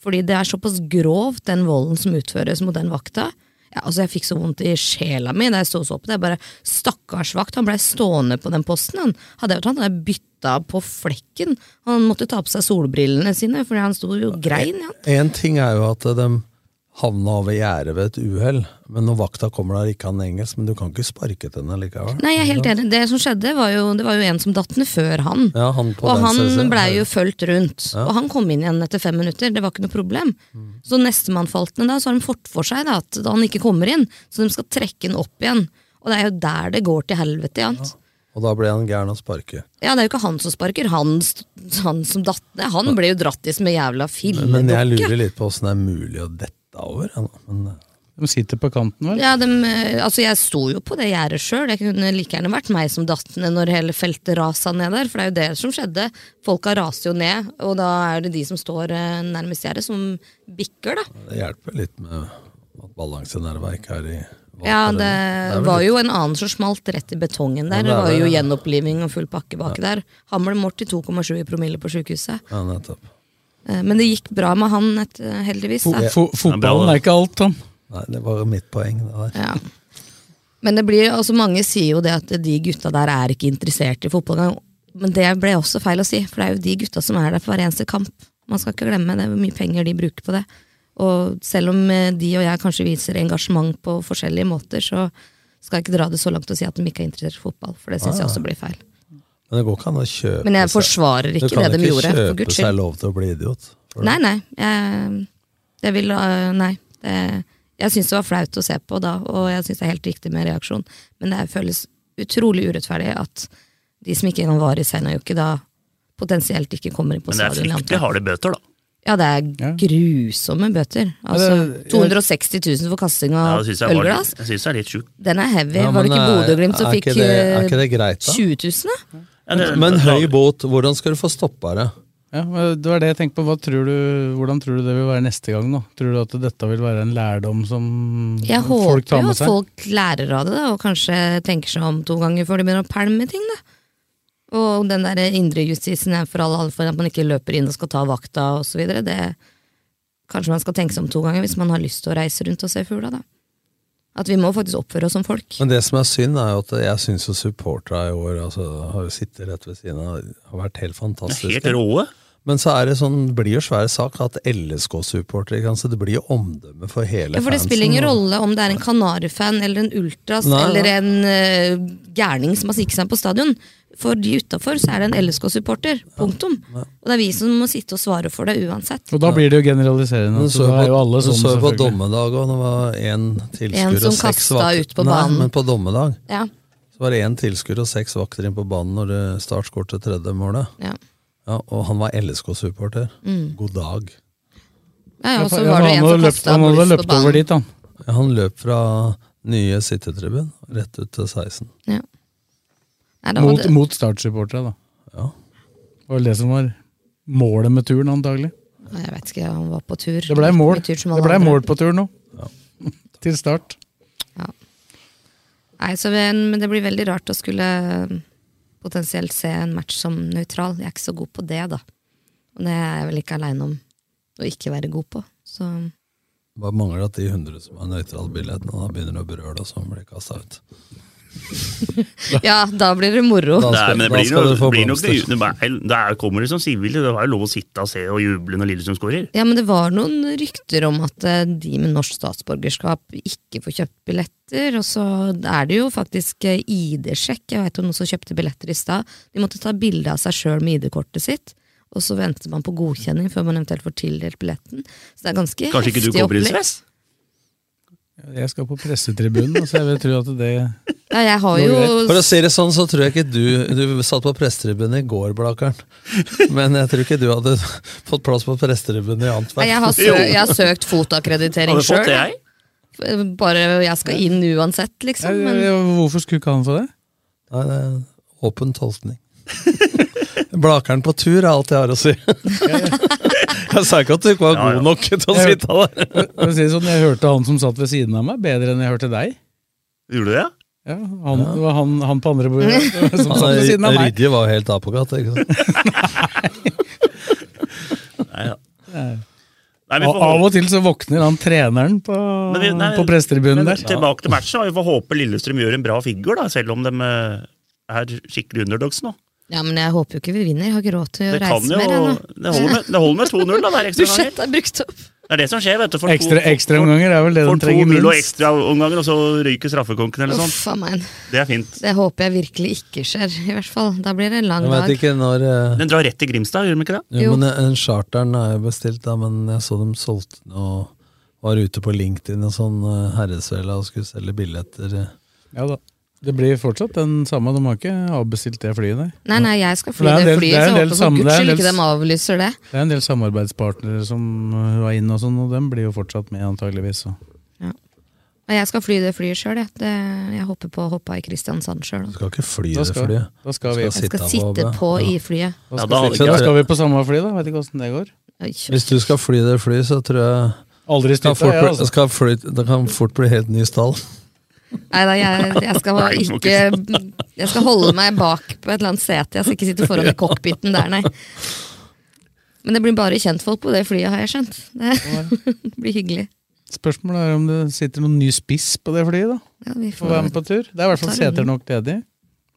Speaker 4: Fordi det er såpass grovt, den volden som utføres mot den vakta. Ja, altså Jeg fikk så vondt i sjela mi da jeg sto og så på det. Jeg bare, Stakkars vakt, han blei stående på den posten. han. Hadde jeg vært han, hadde jeg bytta på flekken. Han måtte ta på seg solbrillene sine, fordi han sto jo og grein. Ja.
Speaker 5: Én ting er jo at de havna over gjerdet ved et uhell, men når vakta kommer der ikke han engelsk, men du kan ikke sparke til henne likevel.
Speaker 4: Nei, jeg er helt enig. Det som skjedde, var jo, det var jo en som datt ned før han.
Speaker 5: Ja, han på
Speaker 4: og
Speaker 5: den siden.
Speaker 4: han blei jo fulgt rundt.
Speaker 5: Ja. Mm.
Speaker 4: Og han kom inn igjen etter fem minutter, det var ikke noe problem. Så nestemann falt ned da, så har de fått for seg da, at han ikke kommer inn. Så de skal trekke han opp igjen. Og det er jo der det går til helvete. Ja.
Speaker 5: Og da ble han gæren å sparke.
Speaker 4: Ja, det er jo ikke han som sparker, han, st- han som datt ned. Han ble jo dratt i som en jævla
Speaker 5: Men jeg
Speaker 4: filledokke.
Speaker 5: lurer litt på åssen det er mulig å dette over. ja, nå, Men, eh,
Speaker 3: de sitter på kanten, vel?
Speaker 4: Ja, dem, eh, altså jeg sto jo på det gjerdet sjøl. Det kunne like gjerne vært meg som datt ned når hele feltet rasa ned der. For det er jo det som skjedde. Folka raser jo ned, og da er det de som står eh, nærmest gjerdet, som bikker, da.
Speaker 5: Det hjelper litt med at balansenerva ikke er i vann.
Speaker 4: Ja,
Speaker 5: Det er
Speaker 4: det
Speaker 5: vel
Speaker 4: var
Speaker 5: litt-
Speaker 4: jo en annen som smalt rett i betongen
Speaker 5: Ja,
Speaker 4: der.
Speaker 5: det
Speaker 4: Det
Speaker 5: er
Speaker 4: var
Speaker 5: det,
Speaker 4: jo
Speaker 5: ja.
Speaker 4: gjenoppliving og full pakke baki der. Han ble målt i 2,7 i promille på sjukehuset.
Speaker 5: Ja, nettopp.
Speaker 4: Eh, Men det gikk bra med han, et- eh, heldigvis.
Speaker 3: Fo
Speaker 4: Da.
Speaker 3: fo fotballen er ikke alt, Tom.
Speaker 5: Nei, det var jo mitt poeng. Det der.
Speaker 4: Ja. Men det blir, altså mange sier jo det at de gutta der er ikke interessert i fotball. Men det ble også feil å si, for det er jo de gutta som er der for hver eneste kamp. Man skal ikke glemme det, hvor mye penger de bruker på det. Og selv om eh, de og jeg kanskje viser engasjement på forskjellige måter, så skal jeg ikke dra det så langt og si at de ikke er interessert i fotball, for det syns jeg også blir feil.
Speaker 5: Men Ah. det går ikke an å kjøpe
Speaker 4: Men jeg
Speaker 5: seg-
Speaker 4: forsvarer ikke
Speaker 5: Du kan
Speaker 4: det de gjorde, for
Speaker 5: kjøpe
Speaker 4: Guds
Speaker 5: seg
Speaker 4: skyld.
Speaker 5: lov til å bli idiot. for det.
Speaker 4: Nei, nei. Jeg, jeg vil øh, Nei. Det, jeg syns det var flaut å se på da, og jeg syns det er helt riktig med reaksjon. Men det føles utrolig urettferdig at de som ikke engang var i Seinajokki, da potensielt ikke kommer inn på
Speaker 2: Men det er
Speaker 4: stadion. i
Speaker 2: fryktelig
Speaker 4: Antwerp.
Speaker 2: harde bøter, da.
Speaker 4: Ja, det er grusomme bøter.
Speaker 2: Ja,
Speaker 4: Altså
Speaker 2: det-
Speaker 4: 260 000 for kasting
Speaker 2: Ja, altså?
Speaker 4: av
Speaker 2: det synes jeg, var,
Speaker 4: ølglass.
Speaker 2: litt- jeg synes det er litt sjukt.
Speaker 4: Den er heavy.
Speaker 5: Ja,
Speaker 4: var det
Speaker 5: men
Speaker 4: ikke
Speaker 5: er-
Speaker 4: Bodø-Glimt som
Speaker 5: er
Speaker 4: fikk
Speaker 5: ikke det- er ikke det
Speaker 4: eh,
Speaker 5: greit, da?
Speaker 4: 20 000? da?
Speaker 2: Ja, det-
Speaker 5: Men høy bot, hvordan skal du få stoppa det?
Speaker 3: Ja, men det var det jeg tenkte på. Hva tror du, hvordan tror du det vil være neste gang? da? Tror du at dette vil være en lærdom som
Speaker 4: Jeg håper
Speaker 3: folk tar
Speaker 4: jo
Speaker 3: med
Speaker 4: at
Speaker 3: seg?
Speaker 4: folk lærer av det, da, og kanskje tenker seg om to ganger før de begynner å pælme ting. da. Og den der indre justisen er for alle, for at man ikke løper inn og skal ta vakta osv. Kanskje man skal tenke seg om to ganger hvis man har lyst til å reise rundt og se fugla. da. At vi må faktisk oppføre oss som folk.
Speaker 5: Men det som er synd, er jo at jeg syns jo supporterne i år altså, har jo sittet rett ved siden av, har vært helt fantastiske.
Speaker 2: Helt råe.
Speaker 5: Men så er det sånn, det blir jo svær sak at LSK-supportere ikke sant, så Det blir jo omdømme for hele
Speaker 4: Ja, for det
Speaker 5: fansen,
Speaker 4: spiller ingen
Speaker 5: og-
Speaker 4: rolle om det er en Kanari-fan eller en Ultras
Speaker 5: Nei,
Speaker 4: eller
Speaker 5: nei.
Speaker 4: en eh, gærning som har sniket seg på stadion. For de utafor så er det en LSK-supporter. Punktum. Og det er vi som må sitte og svare for det uansett.
Speaker 3: Og da blir det jo generaliserende.
Speaker 5: Men
Speaker 3: altså, da er jo alle sånn,
Speaker 5: så jo på
Speaker 3: selvfølgelig.
Speaker 5: dommedag òg, det var én
Speaker 4: En
Speaker 5: tilskuer
Speaker 4: som
Speaker 5: og seks
Speaker 4: kastet
Speaker 5: vakter.
Speaker 4: ut på banen.
Speaker 5: Nei, men på dommedag
Speaker 4: Ja.
Speaker 5: så var det én tilskuer og seks vakter inn på banen når eh, Start skåret tredje målet.
Speaker 4: Ja.
Speaker 5: Ja, og han var LSK-supporter.
Speaker 4: Mm.
Speaker 5: God dag.
Speaker 4: Ja, ja, og så
Speaker 3: Ja,
Speaker 4: var
Speaker 3: for
Speaker 4: det en
Speaker 3: han hadde
Speaker 4: som
Speaker 3: løpt-
Speaker 4: kastet
Speaker 3: han hadde
Speaker 4: Boris på
Speaker 3: løpt
Speaker 4: banen.
Speaker 3: over dit, han.
Speaker 5: Ja, Han løp fra nye sittetribun rett ut til 16.
Speaker 4: Ja. Nei, da var
Speaker 3: Mot,
Speaker 4: det-
Speaker 3: mot Start-supportere, da. Det var vel det som var målet med turen, antagelig.
Speaker 4: Nei, Jeg vet ikke, han var på tur.
Speaker 3: Det blei mål.
Speaker 4: Tur som alle
Speaker 3: Det ble
Speaker 4: andre.
Speaker 3: mål på turen nå. Til start.
Speaker 4: Nei, så vi- men det blir veldig rart å skulle um, potensielt se en match som nøytral. Jeg er ikke så god på det, da. Og det er jeg vel ikke aleine om å ikke være god på. Så
Speaker 5: Bare mangler at de 100 som har nøytrale billettene, da begynner å brøle, og så blir de kasta ut.
Speaker 4: ja, da blir det moro.
Speaker 2: Nei, men det
Speaker 5: da
Speaker 2: blir,
Speaker 5: skal
Speaker 2: jo-
Speaker 5: du få
Speaker 2: blir nok det,
Speaker 5: blomster.
Speaker 2: det er- Der kommer det som sivile. Det var jo lov å sitte og se og juble når Lillestrøm skårer.
Speaker 4: Ja, men det var noen rykter om at eh, de med norsk statsborgerskap ikke får kjøpt billetter, og så er det jo faktisk eh, ID-sjekk. Jeg veit om noen som kjøpte billetter i stad. De måtte ta bilde av seg sjøl med ID-kortet sitt, og så venter man på godkjenning før man eventuelt får tildelt billetten. Så det er ganske
Speaker 2: Kanskje ikke du
Speaker 4: heftig
Speaker 2: kommer inn,
Speaker 4: opplegg.
Speaker 2: Sves?
Speaker 3: Jeg skal på pressetribunen, så jeg vil tro at det
Speaker 4: Ja, jeg har jo
Speaker 5: For å si det sånn, så tror jeg ikke du Du satt på prestetribunen i går, Blakeren. Men jeg tror ikke du hadde fått plass på prestetribunen i
Speaker 4: Nei,
Speaker 5: Antwerp.
Speaker 4: jeg har, sø jeg har søkt fotakkreditering
Speaker 5: Har du fått
Speaker 4: sjøl.
Speaker 5: det, jeg?
Speaker 4: Bare jeg skal inn uansett, liksom. Men
Speaker 3: Hvorfor skulle ikke han få det?
Speaker 5: Nei, det er åpen tolkning. Blakeren på tur er alt jeg har å si. Jeg sa ikke at du ikke var god nok til å
Speaker 3: Jeg-
Speaker 5: sitte der.
Speaker 3: For å si det sånn, Jeg hørte han som satt ved siden av meg, bedre enn jeg hørte deg.
Speaker 2: Gjorde du det?
Speaker 3: Ja, han, det var han, han på andre bordet som
Speaker 5: Han
Speaker 3: satt ved siden av meg.
Speaker 5: Rydje var jo helt apokat. Ikke sant?
Speaker 2: Nei, ja.
Speaker 3: Nei.
Speaker 2: Nei, vi
Speaker 3: Og
Speaker 2: får
Speaker 3: av
Speaker 2: håpe-
Speaker 3: og til så våkner han treneren på,
Speaker 2: Men vi- nei,
Speaker 3: på prestetribunen
Speaker 2: men
Speaker 3: der.
Speaker 2: Tilbake til matchen. da. Vi får håpe Lillestrøm gjør en bra figur, da, selv om de eh, er skikkelig underdogs nå.
Speaker 4: Ja, men jeg håper jo ikke vi vinner. Jeg har ikke råd til å
Speaker 2: Det kan
Speaker 4: reise
Speaker 2: jo
Speaker 4: mer. jeg, nå.
Speaker 2: Det holder med, det holder med 2-0, da. Der ekstra ganger.
Speaker 4: Budsjettet er brukt opp.
Speaker 2: Det er det som skjer, vet du. For
Speaker 3: Ekstra-
Speaker 2: to-
Speaker 3: ekstraomganger er vel det de
Speaker 2: for 2-0
Speaker 3: trenger
Speaker 2: og
Speaker 3: minst.
Speaker 2: ekstraomganger, og så ryker straffekonken eller
Speaker 4: Uff a
Speaker 2: sånn.
Speaker 4: meg.
Speaker 2: Det er fint.
Speaker 4: Det håper jeg virkelig ikke skjer, i hvert fall. Da blir det en lang
Speaker 5: Jeg
Speaker 4: dag.
Speaker 5: vet ikke når eh,
Speaker 2: Den drar rett til Grimstad, gjør den ikke det?
Speaker 5: Jo, men eh, en charteren er jo bestilt, da, men jeg så dem solgte den og var ute på LinkedIn og sånn eh, herresvela og skulle selge billetter. eh.
Speaker 3: Ja da. Det blir fortsatt den samme, de har ikke avbestilt det flyet, nei.
Speaker 4: Nei, nei, jeg skal fly
Speaker 3: Det er en
Speaker 4: det
Speaker 3: del- det
Speaker 4: flyet,
Speaker 3: er
Speaker 4: så
Speaker 3: en
Speaker 4: jeg håper
Speaker 3: del
Speaker 4: for
Speaker 3: sam- det
Speaker 4: guds
Speaker 3: er
Speaker 4: skyld
Speaker 3: en del
Speaker 4: ikke
Speaker 3: s-
Speaker 4: de avlyser det.
Speaker 3: Det er en del samarbeidspartnere som øh, var inne og sånn, og dem blir jo fortsatt med antageligvis. Så.
Speaker 4: Men jeg skal fly det flyet sjøl, jeg. Det, jeg hopper på å hoppe i Kristiansand sjøl.
Speaker 5: Du skal ikke fly
Speaker 3: Da
Speaker 5: det
Speaker 3: skal-
Speaker 5: flyet.
Speaker 3: da skal
Speaker 5: Du
Speaker 3: vi-
Speaker 4: Jeg skal sitte på i flyet.
Speaker 2: Ja, da
Speaker 3: Da, skal
Speaker 2: hadde
Speaker 3: vi,
Speaker 2: ikke
Speaker 3: så da
Speaker 2: jeg-
Speaker 3: skal vi på samme fly, da. Vet ikke åssen det går.
Speaker 5: Hvis du skal fly det flyet, så tror jeg
Speaker 3: Aldri
Speaker 5: kan
Speaker 3: styrta,
Speaker 5: fort
Speaker 3: jeg,
Speaker 5: bli,
Speaker 3: altså.
Speaker 5: skal fly, Det kan fort bli helt ny stall.
Speaker 4: Nei da, jeg, jeg skal
Speaker 5: Nei, du må
Speaker 4: ikke Jeg skal holde meg bak på et eller annet sete. Jeg skal ikke sitte foran i cockpiten der, nei. Men det blir bare kjentfolk på det flyet, har jeg skjønt. Det blir hyggelig.
Speaker 3: Spørsmålet er om det sitter noen ny spiss på det flyet, da.
Speaker 4: Ja, vi
Speaker 3: For å være med på tur. Det er i hvert fall
Speaker 4: tar en-
Speaker 3: seter nok ledig.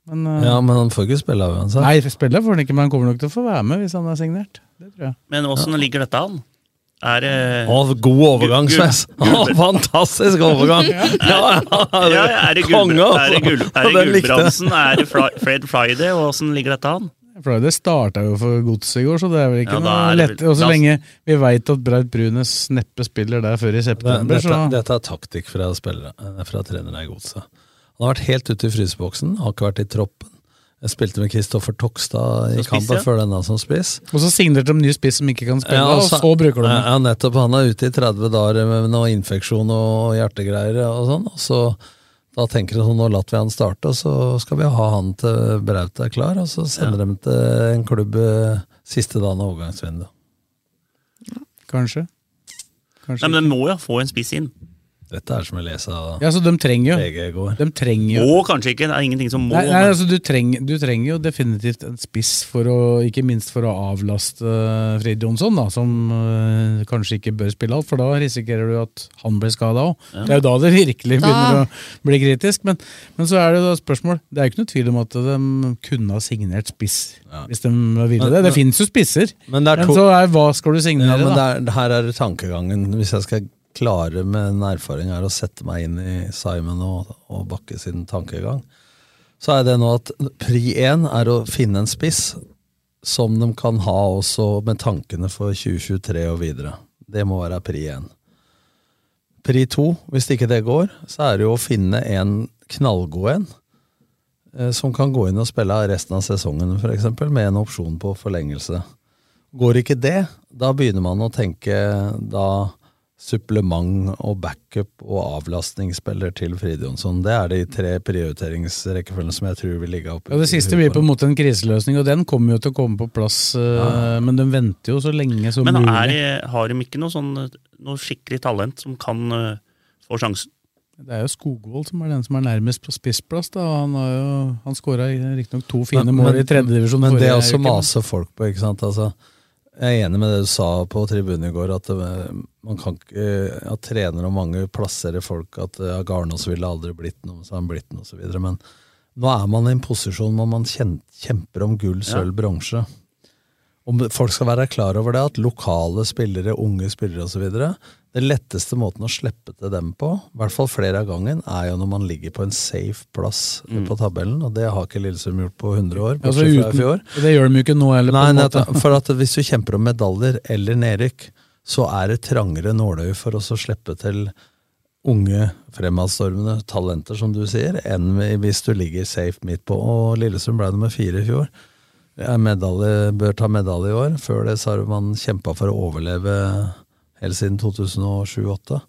Speaker 3: Men, øh,
Speaker 5: Ja, men han får ikke spille av uansett.
Speaker 3: Nei, spiller får han ikke, men han kommer nok til å få være med hvis han er signert. Det tror jeg.
Speaker 2: Men åssen ligger dette an? Er det
Speaker 5: Å, god overgang, Sves! Å, fantastisk overgang! Ja, ja,
Speaker 2: ja, ja, er det, Gul
Speaker 5: Konge, altså.
Speaker 2: er det, Gul er det
Speaker 5: Den likte jeg.
Speaker 2: Gulbrandsen? Er det Fri- Fred Friday? Og åssen ligger dette an?
Speaker 3: For det starta jo for godset i går, så det er vel ikke
Speaker 2: Ja, da
Speaker 3: noe
Speaker 2: er det
Speaker 3: lett.
Speaker 2: vel-
Speaker 3: Og så
Speaker 2: da-
Speaker 3: lenge vi veit at Braut Brunes neppe spiller der før i september,
Speaker 5: Dette,
Speaker 3: så
Speaker 5: dette er taktikk fra, spillere, eh, fra trenere i Godset. Han har vært helt ute i fryseboksen, har ikke vært i troppen. Jeg spilte med Kristoffer Tokstad i
Speaker 3: Som spiss,
Speaker 5: kampen
Speaker 3: ja.
Speaker 5: før denne som spiss.
Speaker 3: Og så signerte de ny spiss som ikke kan spille,
Speaker 5: Ja,
Speaker 3: og
Speaker 5: altså,
Speaker 3: så bruker de den.
Speaker 5: Ja, nettopp. Han er ute i 30 dager med noe infeksjon og hjertegreier og sånn. Og så da tenker de sånn, nå lar vi han starte, og så skal vi ha han til Braut er klar. Og så sender de til en klubb eh, siste dagen av overgangsvinduet.
Speaker 3: Kanskje. Kanskje.
Speaker 2: Nei, men Den må jo få en spiss inn.
Speaker 5: Dette er som jeg leser av
Speaker 3: Ja, så de trenger
Speaker 5: VG i
Speaker 3: jo.
Speaker 5: går.
Speaker 3: De trenger jo.
Speaker 2: Må kanskje ikke, det er ingenting som må.
Speaker 3: Nei, nei,
Speaker 2: men-
Speaker 3: altså, du, trenger, du trenger jo definitivt en spiss, for å, ikke minst for å avlaste eh, Fred Jonsson, da, som eh, kanskje ikke bør spille alt, for da risikerer du at han blir skada òg.
Speaker 2: Ja.
Speaker 3: Det er jo da det virkelig begynner
Speaker 2: Da-
Speaker 3: å bli kritisk. Men, men så er det jo da spørsmål Det er jo ikke noe tvil om at de kunne ha signert spiss hvis de ville
Speaker 5: Men-
Speaker 3: det. Det
Speaker 5: men-
Speaker 3: fins jo spisser,
Speaker 5: Men det er to-
Speaker 3: så er hva skal du signere,
Speaker 5: Ja, men
Speaker 3: da?
Speaker 5: det er, her er det tankegangen. Hvis jeg skal klare med en erfaring her å sette meg inn i Simon og, og Bakke sin tankegang, så er det nå at pri én er å finne en spiss som de kan ha også med tankene for 2023 og videre. Det må være pri én. Pri to, hvis ikke det går, så er det jo å finne en knallgod en. eh, Som kan gå inn og spille resten av sesongen, f.eks., med en opsjon på forlengelse. Går ikke det, da begynner man å tenke Da supplement og backup og avlastningsspiller til Fride Jonsson. Det er de tre prioriteringsrekkefølgene som jeg tror vil ligge oppe.
Speaker 3: Ja, det siste blir på en måte en kriseløsning, og den kommer jo til å komme på plass. eh,
Speaker 2: Ja.
Speaker 3: Men den venter jo så lenge som
Speaker 2: Men er,
Speaker 3: mulig.
Speaker 2: har de ikke noe, sånn, noe skikkelig talent som kan eh, få sjansen?
Speaker 3: Det er jo Skogvold som er den som er nærmest på spissplass. Da. Han, har jo, han skåra riktignok to fine mål i tredje divisjon
Speaker 5: Men det
Speaker 3: forrige
Speaker 5: også
Speaker 3: uke, men-
Speaker 5: maser folk på, ikke sant. Altså, jeg er enig med det du sa på tribunen i går, at det, man kan ikke eh, At trenere og mange plasserer folk at ja, Garnås ville aldri blitt noe, så har han blitt noe, osv. Men nå er man i en posisjon hvor man kjen- kjemper om gull,
Speaker 2: Ja.
Speaker 5: sølv, bronse. Om folk skal være klar over det, at lokale spillere, unge spillere osv. Det letteste måten å slippe til dem på, i hvert fall flere av gangen, er jo når man ligger på en safe plass på tabellen, og det har ikke Lillesund gjort på 100 år.
Speaker 3: Mm.
Speaker 5: bortsett
Speaker 3: Altså,
Speaker 5: fra i
Speaker 3: uten-
Speaker 5: fjor.
Speaker 3: Det gjør de jo ikke nå heller. på
Speaker 5: Nei,
Speaker 3: en
Speaker 5: nei,
Speaker 3: måte.
Speaker 5: at- for at hvis du kjemper om medaljer eller nedrykk, så er det trangere nåløye for oss å slippe til unge, fremadstormende talenter, som du sier, enn hvis du ligger safe midt på. Og Lillesund ble nummer fire i fjor. Ja, Medalje, bør ta medalje i år. Før det så har man kjempa for å overleve helt siden 2007-2008.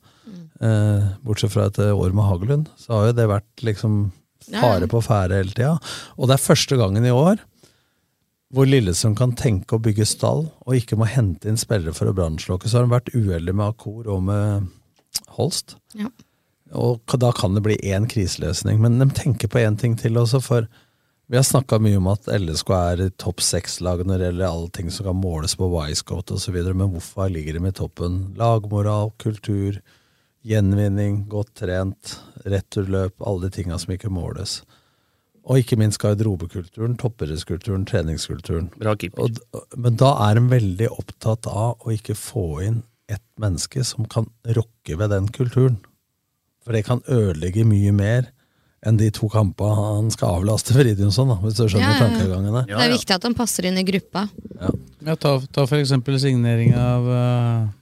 Speaker 5: Eh, bortsett fra et år med Hagelund, så har jo det vært liksom
Speaker 6: Ja, ja.
Speaker 5: fare på ferde hele tida. Og det er første gangen i år hvor Lillesund kan tenke å bygge stall, og ikke må hente inn spillere for å brannslokke. Så har de vært uheldig med Akor og med Holst.
Speaker 4: Ja.
Speaker 5: Og k- da kan det bli én kriseløsning. Men de tenker på én ting til også, for vi har snakka mye om at LSK er i topp seks-lag når det gjelder allting som kan måles på Wisecoat osv., men hvorfor ligger de i toppen? Lagmoral, kultur, gjenvinning, godt trent, returløp, alle de tinga som ikke måles. Og ikke minst garderobekulturen, toppidrettskulturen, treningskulturen.
Speaker 2: Bra keeper.
Speaker 5: Og, d- men da er de veldig opptatt av å ikke få inn ett menneske som kan rokke ved den kulturen. For det kan ødelegge mye mer enn de to kampa han skal avlaste Fridjonsson, da, hvis du skjønner
Speaker 4: Ja, ja, ja.
Speaker 5: tankegangene.
Speaker 4: Det er viktig at han passer inn i gruppa.
Speaker 3: Ja, ta, ta for eksempel signeringa av eh,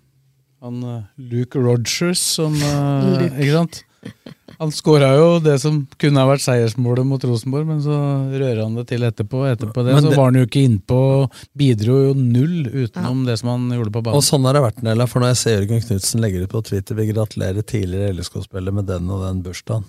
Speaker 3: han eh, Luke Rogers, som eh,
Speaker 6: Luke.
Speaker 3: Ikke sant? Han skåra jo det som kunne ha vært seiersmålet mot Rosenborg, men så rører han det til etterpå. Etterpå det,
Speaker 5: Men
Speaker 3: så
Speaker 5: det-
Speaker 3: var han jo ikke innpå. Bidro jo null utenom det som han gjorde på banen.
Speaker 5: Og sånn har det vært, Nella, for når jeg ser Jørgen Knutsen legger ut på Twitter vi gratulerer tidligere LSK-spiller med den og den bursdagen.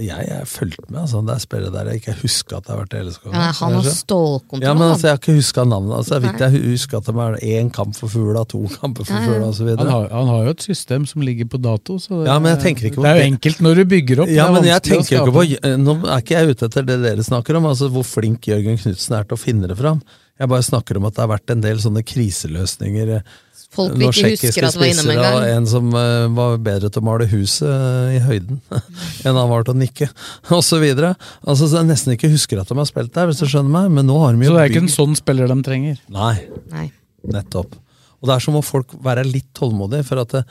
Speaker 5: Jeg jeg har fulgt med, altså. Det er spillere der jeg ikke husker at det har vært i LSK.
Speaker 4: Ja, han har stålkontroll,
Speaker 5: Ja, men altså,
Speaker 4: han.
Speaker 5: jeg har ikke huska navnet. Altså, det er viktig
Speaker 4: Nei.
Speaker 5: jeg husker at det er én kamp for fugla, to kamper for
Speaker 3: Ja, ja.
Speaker 5: fugla osv.
Speaker 3: Han har- han har jo et system som ligger på dato, så det,
Speaker 5: Ja, men jeg tenker ikke på
Speaker 3: det er jo
Speaker 5: det.
Speaker 3: enkelt når du bygger opp.
Speaker 5: Ja,
Speaker 3: det er
Speaker 5: men jeg
Speaker 3: vanskelig å
Speaker 5: tenker jo ikke på eh,
Speaker 3: skape.
Speaker 5: Nå er ikke jeg ute etter det dere snakker om, altså hvor flink Jørgen Knutsen er til å finne det fram. Jeg bare snakker om at det har vært en del sånne kriseløsninger. eh,
Speaker 4: Folk vi
Speaker 5: noen
Speaker 4: ikke
Speaker 5: tsjekkiske
Speaker 4: husker at var innom en
Speaker 5: spisser, Og
Speaker 4: gang.
Speaker 5: en som eh, var bedre til å male huset eh, i høyden enn han var til å nikke, osv. Altså, så jeg nesten ikke husker at de har spilt der, hvis du skjønner meg. Men nå har de jo
Speaker 3: Så det er ikke en
Speaker 5: bygd-
Speaker 3: sånn spiller de trenger.
Speaker 5: Nei.
Speaker 4: Nei.
Speaker 5: Nettopp. Og det er så må folk være litt tålmodige, for at det,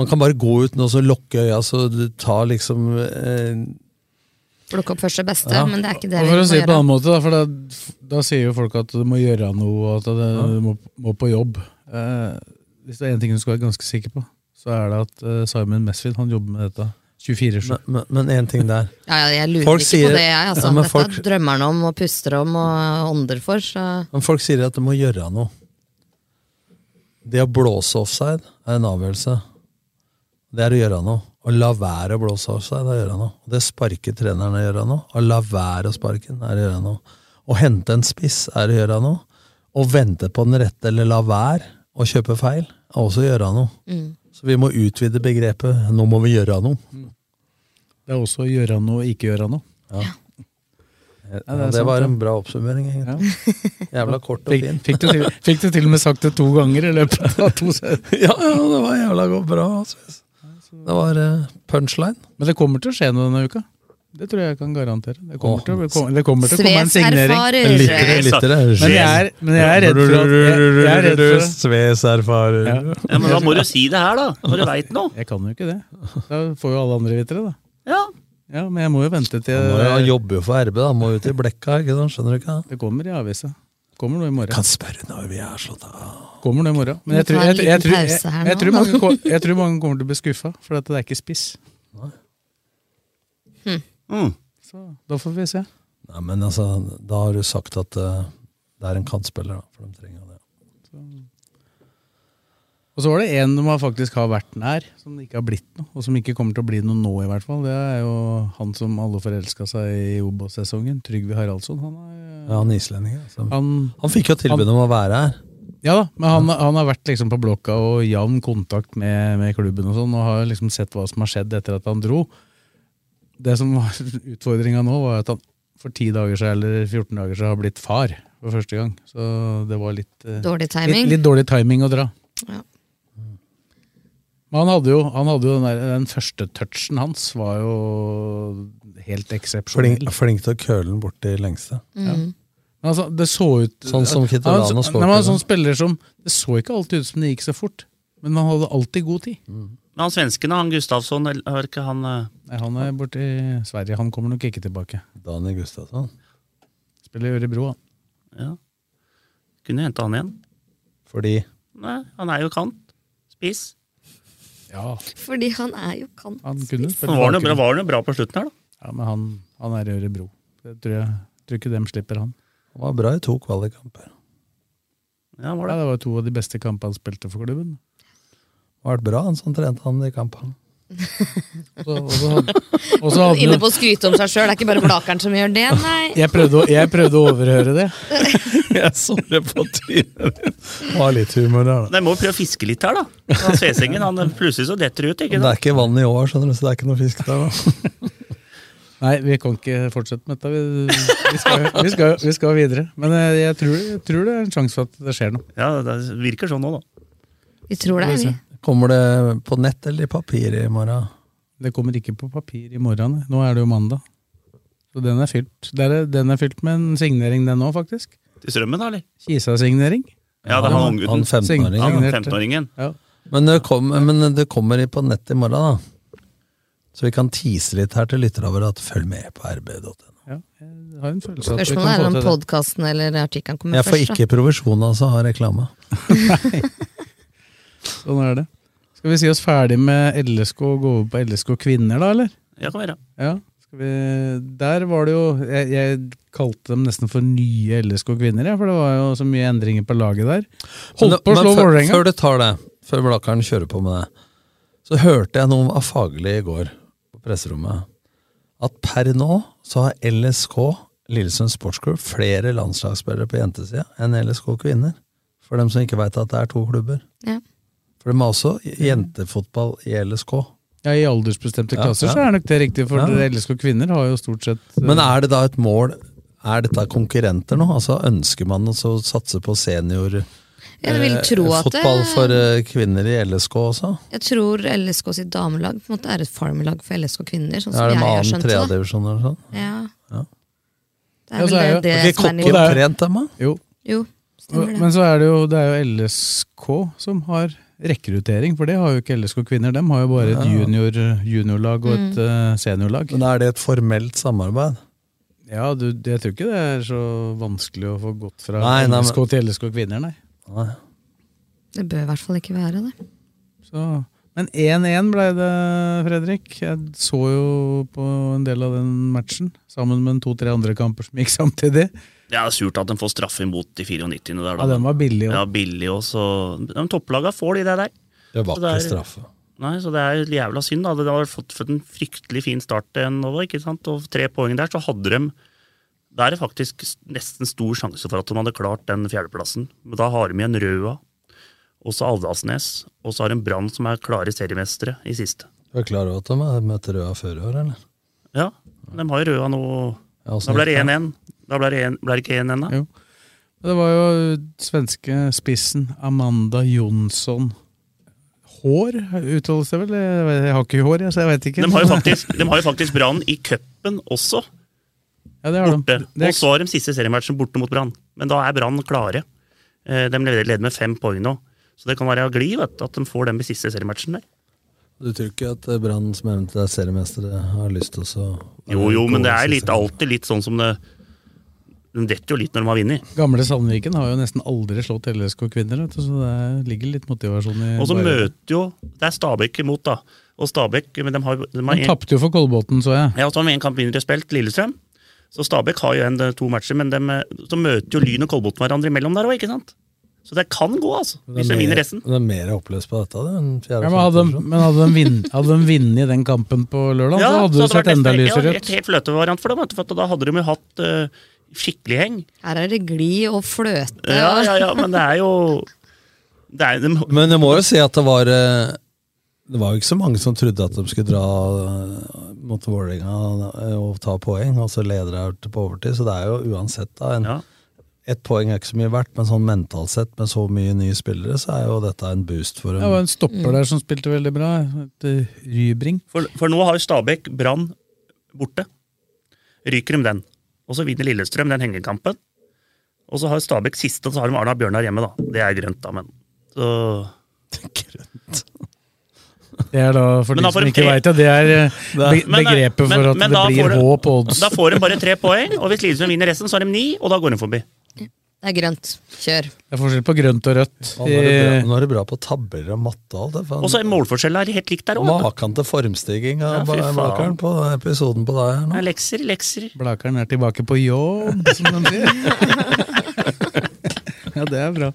Speaker 5: man kan bare gå ut nå og så lukke øya, så du tar liksom eh,
Speaker 4: Plukke opp først det beste,
Speaker 5: Ja.
Speaker 4: men det er ikke det
Speaker 3: Og
Speaker 4: vi
Speaker 3: for å
Speaker 4: må
Speaker 3: si det på en
Speaker 4: gjøre.
Speaker 3: annen måte, da, for da, da sier jo folk at du må gjøre noe, og at du må, må på jobb. Eh, hvis det er én ting du skal være ganske sikker på, så er det at eh, Simon Mesfield han jobber med dette 24-7.
Speaker 5: Men- Men én ting der.
Speaker 4: Ja, ja, jeg lurer
Speaker 5: Folk
Speaker 4: ikke
Speaker 5: sier-
Speaker 4: på det, jeg. Altså.
Speaker 5: Ja, men
Speaker 4: Dette
Speaker 5: folk-
Speaker 4: drømmer han om og puster om og ånder for. Så.
Speaker 5: Men folk sier at du må gjøre noe. Det å blåse offside er en avgjørelse. Det er å gjøre noe. Å la være å blåse offside er å gjøre noe. Det sparker treneren er å gjøre noe. Å la være å sparke den er å gjøre noe. Å hente en spiss er å gjøre noe. Å vente på den rette eller la være å kjøpe feil er også å gjøre noe.
Speaker 4: Mm.
Speaker 5: Så vi må utvide begrepet 'nå må vi gjøre noe'.
Speaker 3: Det er også å gjøre noe og ikke gjøre noe.
Speaker 5: Ja, det, var en bra oppsummering, egentlig. Jævla kort og
Speaker 3: Fikk,
Speaker 5: fin.
Speaker 3: fikk, du til, fikk du til og med sagt det to ganger i løpet av to sett?
Speaker 5: ja, ja, det var jævla godt bra. Altså. Det var eh, punchline.
Speaker 3: Men det kommer til å skje noe denne uka. Det tror jeg jeg kan garantere. Det kommer til å, bli- det kommer til å komme en
Speaker 4: Sves
Speaker 3: signering.
Speaker 4: erfarer. En lytter- en lytter er-
Speaker 3: Men jeg er, men jeg er redd for at jeg, jeg er redd for at
Speaker 5: Sves erfarer.
Speaker 2: Ja, men da må du si det her, da! Når du veit noe.
Speaker 3: Jeg kan jo ikke det. Da får jo alle andre vite det, da.
Speaker 2: Ja.
Speaker 3: Ja, men jeg må jo vente til
Speaker 5: Han må jo- han jobber jo for RB, da. Han må ut i blekka, ikke sant? Skjønner du ikke?
Speaker 3: Det kommer i avisa. Kommer nå i morgen.
Speaker 5: Kan spørre når vi er slått av.
Speaker 3: Kommer nå i morgen. Men
Speaker 5: Vi
Speaker 3: jeg tror,
Speaker 5: tar en
Speaker 3: jeg, jeg, jeg,
Speaker 5: liten
Speaker 3: tror- jeg,
Speaker 5: pause her
Speaker 3: jeg,
Speaker 5: nå.
Speaker 3: tror mange, kom- jeg tror mange kommer til å bli skuffa, for at det er ikke spiss.
Speaker 2: Mm.
Speaker 3: Så da får vi se.
Speaker 5: Nei, men altså, da har du sagt at eh, det er en kantspiller, da. For de trenger det.
Speaker 3: Og så var det en som har faktisk har vært nær, som det ikke har blitt noe. Og som ikke kommer til å bli noe nå, i hvert fall. Det er jo han som alle forelska seg i Obos-sesongen. Trygve Haraldsson. Han, er,
Speaker 5: Ja, han islendingen. Altså.
Speaker 3: Han,
Speaker 5: han fikk jo tilbud om å være her.
Speaker 3: ja da, men han, han har vært liksom på blokka og jevn kontakt med, med klubben og sånn, og har liksom sett hva som har skjedd etter at han dro. Det som var utfordringa nå, var at han for 10 dager siden eller 14 dager siden har blitt far for første gang. Så det var litt, eh,
Speaker 4: Dårlig timing.
Speaker 3: litt, litt dårlig timing å dra.
Speaker 4: Ja.
Speaker 3: Men han hadde jo, han hadde jo den, der, den første touchen hans var jo helt
Speaker 5: Flink,
Speaker 3: eksepsjonell.
Speaker 5: flink til å køle den bort til lengste.
Speaker 4: Mm.
Speaker 3: Men altså, det så ut
Speaker 5: Sånn som Kittelano
Speaker 3: Han var så-
Speaker 5: skårte
Speaker 3: nei, men han var
Speaker 5: den.
Speaker 3: sånn spiller som Det så ikke alltid ut som det gikk så fort, men han hadde alltid god tid.
Speaker 2: Men han svensken, han Gustavsson, eller- har ikke han eh,
Speaker 3: Nei, han er borte i Sverige. Han kommer nok ikke tilbake.
Speaker 5: Daniel Gustavsson.
Speaker 3: Spiller i Ørebro, han.
Speaker 2: ja. Kunne hente han igjen.
Speaker 5: Fordi
Speaker 2: Nei, han er jo kant. Spiss.
Speaker 3: Ja,
Speaker 4: Fordi han er jo kant.
Speaker 3: han kunne spille
Speaker 2: Han var noe bra,
Speaker 3: bakgrunn.
Speaker 2: var noe bra på slutten her, da.
Speaker 3: Ja, men han, han er i Ørebro. Det tror jeg tror ikke dem slipper han.
Speaker 5: han var bra i to kvalikkamper.
Speaker 2: Ja, han var
Speaker 3: Ja,
Speaker 2: det.
Speaker 3: det var jo to av de beste kampene han spilte for klubben.
Speaker 5: Var det bra han som trente han i kampene?
Speaker 3: Og så- og så hadde- og så hadde
Speaker 4: Inne
Speaker 3: han
Speaker 4: på å skryte om seg sjøl, det er ikke bare Blakeren som gjør det, nei.
Speaker 3: Jeg prøvde, å, jeg prøvde å overhøre det.
Speaker 5: Jeg så det på trynet ditt! Har litt humor der, da.
Speaker 2: Nei, må jo prøve å fiske litt her, da. Han Svesengen, han eh, plutselig så detter det ut,
Speaker 5: Det
Speaker 2: ikke
Speaker 5: er
Speaker 2: sant?
Speaker 5: ikke vann i år, skjønner du, så det er ikke noe fisk der. Da.
Speaker 3: Nei, vi kan ikke fortsette med dette. Vi, vi, skal, vi, skal, vi skal videre. Men eh, jeg tror, jeg tror det er en sjanse for at det skjer noe.
Speaker 2: Ja, det virker sånn nå, da.
Speaker 4: Vi tror det, er vi.
Speaker 5: Kommer det på nett eller i papir i morgen?
Speaker 3: Det kommer ikke på papir i morgen. Nå er det jo mandag. Så den er fylt. Det er, den er fylt med en signering, den òg, faktisk.
Speaker 2: Til strømmen, da, eller?
Speaker 3: Kisa-signering.
Speaker 2: Ja, det er han unggutten.
Speaker 5: Han 15-åringen.
Speaker 2: Han
Speaker 3: signerte.
Speaker 2: 15-åringen.
Speaker 3: Ja.
Speaker 5: Men det, kom, men det kommer i på nett i morgen, da. Så vi kan tease litt her til lytterne våre at følg med på rb.no.
Speaker 3: ja. Jeg har en følelse av at vi
Speaker 4: Spørsmålet er om
Speaker 3: kan få til det.
Speaker 4: podkasten eller artikkelen kommer
Speaker 5: Jeg får
Speaker 4: først.
Speaker 5: ikke provisjon altså, av reklame.
Speaker 3: Sånn er det. Skal vi si oss ferdig med LSK og gå over på LSK kvinner, da, eller?
Speaker 2: Ja, kan være.
Speaker 3: Ja, skal vi, der var det jo jeg, jeg kalte dem nesten for nye LSK kvinner, jeg, for det var jo så mye endringer på laget der. Holdt på å slå
Speaker 5: før,
Speaker 3: Vålerenga.
Speaker 5: før du tar det, før Blakkaren kjører på med det, så hørte jeg noe av Fagerli i går på presserommet. At per nå så har LSK, Lillesund Sportsklubb, flere landslagsspillere på jentesida enn LSK kvinner. For dem som ikke veit at det er to klubber.
Speaker 4: Ja.
Speaker 5: For de har også
Speaker 3: Mm.
Speaker 5: jentefotball i LSK.
Speaker 3: Ja, I aldersbestemte
Speaker 5: Ja,
Speaker 3: klasser
Speaker 5: ja.
Speaker 3: så er nok det riktig, for
Speaker 5: Ja.
Speaker 3: dere LSK kvinner har jo stort sett eh,
Speaker 5: Men er det da et mål Er dette konkurrenter nå? Altså Ønsker man å satse på senior
Speaker 4: Jeg vil
Speaker 5: eh,
Speaker 4: tro at det,
Speaker 5: fotball for eh, kvinner i LSK også?
Speaker 4: Jeg tror LSK sitt damelag på en måte er et farmlag for LSK kvinner, sånn som
Speaker 5: er det
Speaker 4: jeg
Speaker 5: med
Speaker 4: har
Speaker 5: annen
Speaker 4: skjønt det.
Speaker 5: tredjedivisjon eller sånn?
Speaker 4: da. Ja.
Speaker 5: Ja.
Speaker 4: Det
Speaker 3: Ja,
Speaker 4: er
Speaker 3: så er
Speaker 4: vel
Speaker 3: jo-
Speaker 4: det
Speaker 5: Ikke
Speaker 4: som er
Speaker 5: kokken
Speaker 4: nivået.
Speaker 3: nivå.
Speaker 5: trent dem, da?
Speaker 3: Altså, Jo,
Speaker 4: Jo, stemmer det.
Speaker 3: men så er det jo, det er jo LSK som har rekruttering, for det har jo ikke LSK kvinner. De har jo bare et junior, juniorlag og
Speaker 4: Mm.
Speaker 3: et eh, seniorlag.
Speaker 5: Men er det et formelt samarbeid?
Speaker 3: Ja, du, jeg tror ikke det er så vanskelig å få gått fra
Speaker 5: Nei, nei, men-
Speaker 3: LSK til LSK kvinner, nei.
Speaker 5: Nei.
Speaker 4: Det bør i hvert fall ikke være det.
Speaker 3: Så, men 1-1 ble det, Fredrik. Jeg så jo på en del av den matchen, sammen med en to-tre andre kamper som gikk samtidig.
Speaker 2: Det er surt at de får straffe imot i 94. Der, da.
Speaker 3: Ja, den var billig.
Speaker 2: Ja,
Speaker 3: også.
Speaker 2: billig også. De topplaga får de det der.
Speaker 5: Det var
Speaker 2: Så det
Speaker 5: ikke
Speaker 2: er-
Speaker 5: straffe.
Speaker 2: Nei, så det er jævla synd. da. Det har fått, fått en fryktelig fin start til nå, ikke sant? Og tre poeng der, så hadde de Da er det faktisk s- nesten stor sjanse for at de hadde klart den fjerdeplassen. Men da har de igjen Røa, og så Aldalsnes, og så har de Brann som er klare seriemestere i siste.
Speaker 5: Du er klar over at de har møtt Røa før i år, eller?
Speaker 2: Ja, de har jo Røa nå.
Speaker 5: Ja, også
Speaker 2: Da ble det
Speaker 5: nytt,
Speaker 2: 1-1. Da ble det, en, ble det ikke 1-1, da?
Speaker 3: Jo. Det var jo svenske spissen Amanda Jonsson. Hår uttales det vel? Jeg jeg har ikke hår, jeg, så jeg veit ikke.
Speaker 2: De har jo faktisk, de har jo faktisk Brann i cupen også,
Speaker 3: ja, det har
Speaker 2: borte.
Speaker 3: de. Det
Speaker 2: Og
Speaker 3: er,
Speaker 2: så har de siste seriematchen borte mot Brann. Men da er Brann klare. Eh, De leder leder med fem poeng nå. Så det kan være av glid vet du, at de får den i siste seriematchen der.
Speaker 5: Du tror ikke at eh, Brann, som eventuelt er seriemester, har lyst til å
Speaker 2: Jo, jo, men det er litt, alltid litt sånn som det De detter jo litt når de har vunnet.
Speaker 3: gamle Sandviken har jo nesten aldri slått LSK kvinner, vet du, så det er- ligger litt motivasjon i
Speaker 2: Og så
Speaker 3: bare-
Speaker 2: møter jo Det er Stabæk imot, da. Og Stabæk Men de har, de har
Speaker 3: Han
Speaker 2: en,
Speaker 3: tapte jo for Kolbotn, så jeg.
Speaker 2: ja, så har de en kamp mindre spilt, Lillestrøm. eh, Så Stabæk har jo en, to matcher, men de, så møter jo Lyn og Kolbotn hverandre imellom der òg, ikke sant? Så det kan gå, altså. Hvis de vinner resten.
Speaker 5: Det er mer oppløst på dette det, enn fjerde-
Speaker 3: Ja, men hadde, de- men hadde de vinn- hadde de vunnet den kampen på lørdag, så hadde det sett
Speaker 2: vært
Speaker 3: enda
Speaker 2: nesten-
Speaker 3: lysere
Speaker 2: Ja,
Speaker 3: ut.
Speaker 2: et helt fløtevariant for dem, vet du, for at da hadde de jo hatt eh, skikkelig heng.
Speaker 4: Her er det glid og fløte.
Speaker 2: Ja, ja, ja, men det er jo det er, de,
Speaker 5: Men jeg må jo si at det var eh, Det var jo ikke så mange som trodde at de skulle dra eh, mot Vålerenga eh, og ta poeng, Altså, og så leder de til på overtid. Så det er jo uansett, da. En, Ett poeng er ikke så mye verdt, men sånn mentalt sett, med så mye nye spillere, så er jo dette en boost for
Speaker 3: Det
Speaker 5: dem.
Speaker 3: var en stopper der som spilte veldig bra. et Rybring.
Speaker 2: For, for nå har jo Stabæk Brann borte. Ryker de den. Og så vinner Lillestrøm den hengekampen. Og så har Stabæk siste, og så har de Arna Bjørnar hjemme, da. Det er grønt, da, men så,
Speaker 3: Det er da, for
Speaker 2: Men da
Speaker 3: de
Speaker 2: får
Speaker 3: som
Speaker 2: de
Speaker 3: ikke
Speaker 2: tre-
Speaker 3: veit det, det er eh, be
Speaker 2: Men, eh,
Speaker 3: begrepet
Speaker 2: men-
Speaker 3: for at
Speaker 2: men
Speaker 3: det
Speaker 2: da får
Speaker 3: blir
Speaker 2: de-
Speaker 3: håp og odds.
Speaker 2: Da får de bare tre poeng, og hvis Lillestrøm vinner resten, så har de ni, og da går de forbi.
Speaker 4: Det er grønt. Kjør.
Speaker 3: Det er forskjell på grønt og rødt. Eh,
Speaker 5: Nå er det bra- nå er det bra på tabber og matte og alt. det, faen.
Speaker 2: Og så er målforskjellen helt likt der òg.
Speaker 5: Maken til formstigning av
Speaker 2: Ja, fy faen.
Speaker 5: bakeren på episoden på deg her nå.
Speaker 2: Lekser, lekser.
Speaker 3: Blakeren er tilbake på jobb, som de sier. ja, det er bra.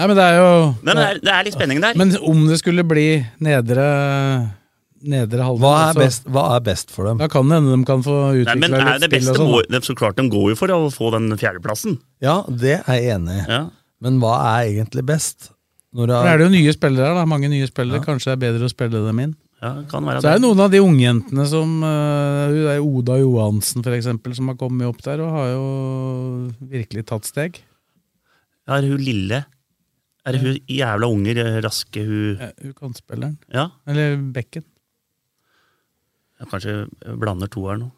Speaker 3: Nei, men det er jo
Speaker 2: Men det er- det er litt spenning der.
Speaker 3: Men om det skulle bli nedre Nedre halvdel
Speaker 5: Hva er
Speaker 3: altså,
Speaker 5: best, hva er best for dem?
Speaker 3: Da kan det hende de kan få
Speaker 2: Nei, men
Speaker 3: utvikla
Speaker 2: er det
Speaker 3: litt spill
Speaker 2: beste
Speaker 3: og sånn.
Speaker 2: må, det, Så klart de går jo for å få den fjerdeplassen.
Speaker 5: Ja, det er jeg enig i.
Speaker 2: Ja.
Speaker 5: Men hva er egentlig best? Når du
Speaker 3: For det er det jo nye spillere her, da. Mange nye spillere. Kanskje det er bedre å spille dem inn.
Speaker 2: Ja, det kan være
Speaker 3: Så er det
Speaker 2: det.
Speaker 3: noen av de ungjentene som eh, Hun der Oda Johansen, for eksempel, som har kommet opp der og har jo virkelig tatt steg.
Speaker 2: Ja, er hun lille? Er hun jævla unger, raske hun
Speaker 3: Ja, hun kantspilleren.
Speaker 2: Ja,
Speaker 3: Eller bekken.
Speaker 2: jeg kanskje blander to her nå.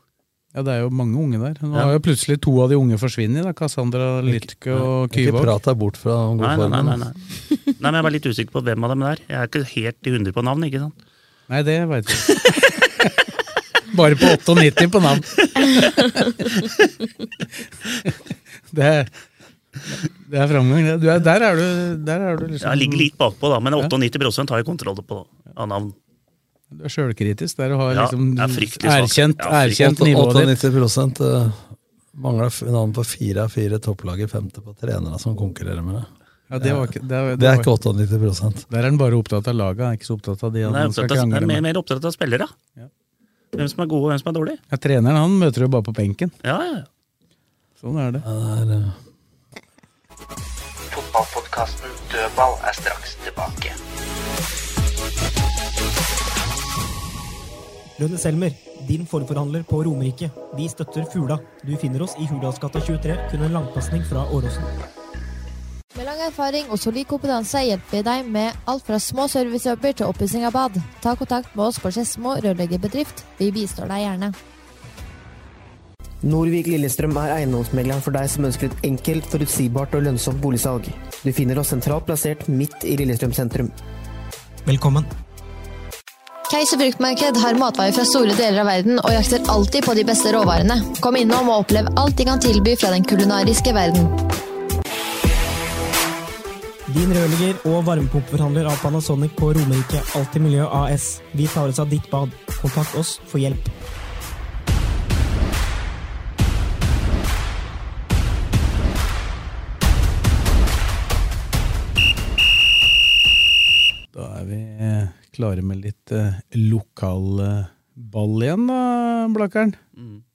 Speaker 3: Ja, det er jo mange unge der. Nå
Speaker 2: Ja.
Speaker 3: har jo plutselig to av de unge forsvunnet. da. Cassandra Lytke og
Speaker 5: Ikke
Speaker 3: Kyvåg.
Speaker 5: prat deg bort fra den
Speaker 2: Nei,
Speaker 5: gode
Speaker 2: nei, nei,
Speaker 5: formen.
Speaker 2: nei, nei. nei, men jeg var litt usikker på hvem av dem det er. Jeg er ikke helt i hundre på navn, ikke sant?
Speaker 3: Nei, det veit vi ikke. Bare på 98 på navn. det, det er framgang, det. Du er, der, er du, der er du liksom
Speaker 2: Jeg ligger litt bakpå, da, men 98 har jeg kontroll på av navn.
Speaker 3: Du er sjølkritisk der du har
Speaker 2: Ja,
Speaker 3: liksom
Speaker 2: jeg er fryktelig svak.
Speaker 3: erkjent,
Speaker 2: Jeg er fryktelig-
Speaker 3: erkjent nivået ditt.
Speaker 5: 98 mangla eh, navn på fire av fire topplag i femte på trenere som konkurrerer med deg.
Speaker 3: Ja, det, var ikke, det, var-
Speaker 5: Det er
Speaker 3: var-
Speaker 5: ikke 98
Speaker 3: Der er han bare opptatt av laget, han er ikke så opptatt av de
Speaker 2: Men jeg
Speaker 3: han
Speaker 2: er,
Speaker 3: skal
Speaker 2: opptatt av, jeg
Speaker 3: krangle
Speaker 2: er mer,
Speaker 3: med.
Speaker 2: mer opptatt av spillere. Hvem som er gode, og hvem som er dårlige.
Speaker 3: Ja, treneren han møter du bare på benken.
Speaker 2: Ja, ja.
Speaker 3: Sånn er det.
Speaker 5: eh,
Speaker 6: Fotballpodkasten Dødball er straks tilbake.
Speaker 1: Lønne Selmer, din forforhandler på Romerike. Vi støtter Fula. Du finner oss i Hurdalsgata 23, kun en langpasning fra Åråsen.
Speaker 7: Med lang erfaring og solid kompetanse hjelper vi deg med alt fra små servicejobber til oppussing av bad. Ta kontakt med oss på Skedsmo rørleggerbedrift. Vi bistår deg gjerne.
Speaker 8: Norvik Lillestrøm er eiendomsmegleren for deg som ønsker et enkelt, forutsigbart og lønnsomt boligsalg. Du finner oss sentralt plassert midt i Lillestrøm sentrum.
Speaker 1: Velkommen.
Speaker 7: Keiser fruktmarked har matvarer fra store deler av verden og jakter alltid på de beste råvarene. Kom innom og opplev alt de kan tilby fra den kulinariske verden.
Speaker 1: Din rørlegger og varmepumpeforhandler av Panasonic på Romerike Alltid Miljø AS. Vi tar oss av ditt bad. Kontakt oss for hjelp.
Speaker 3: Da er vi eh, klare med litt eh, lokalball igjen, da, Blakkern.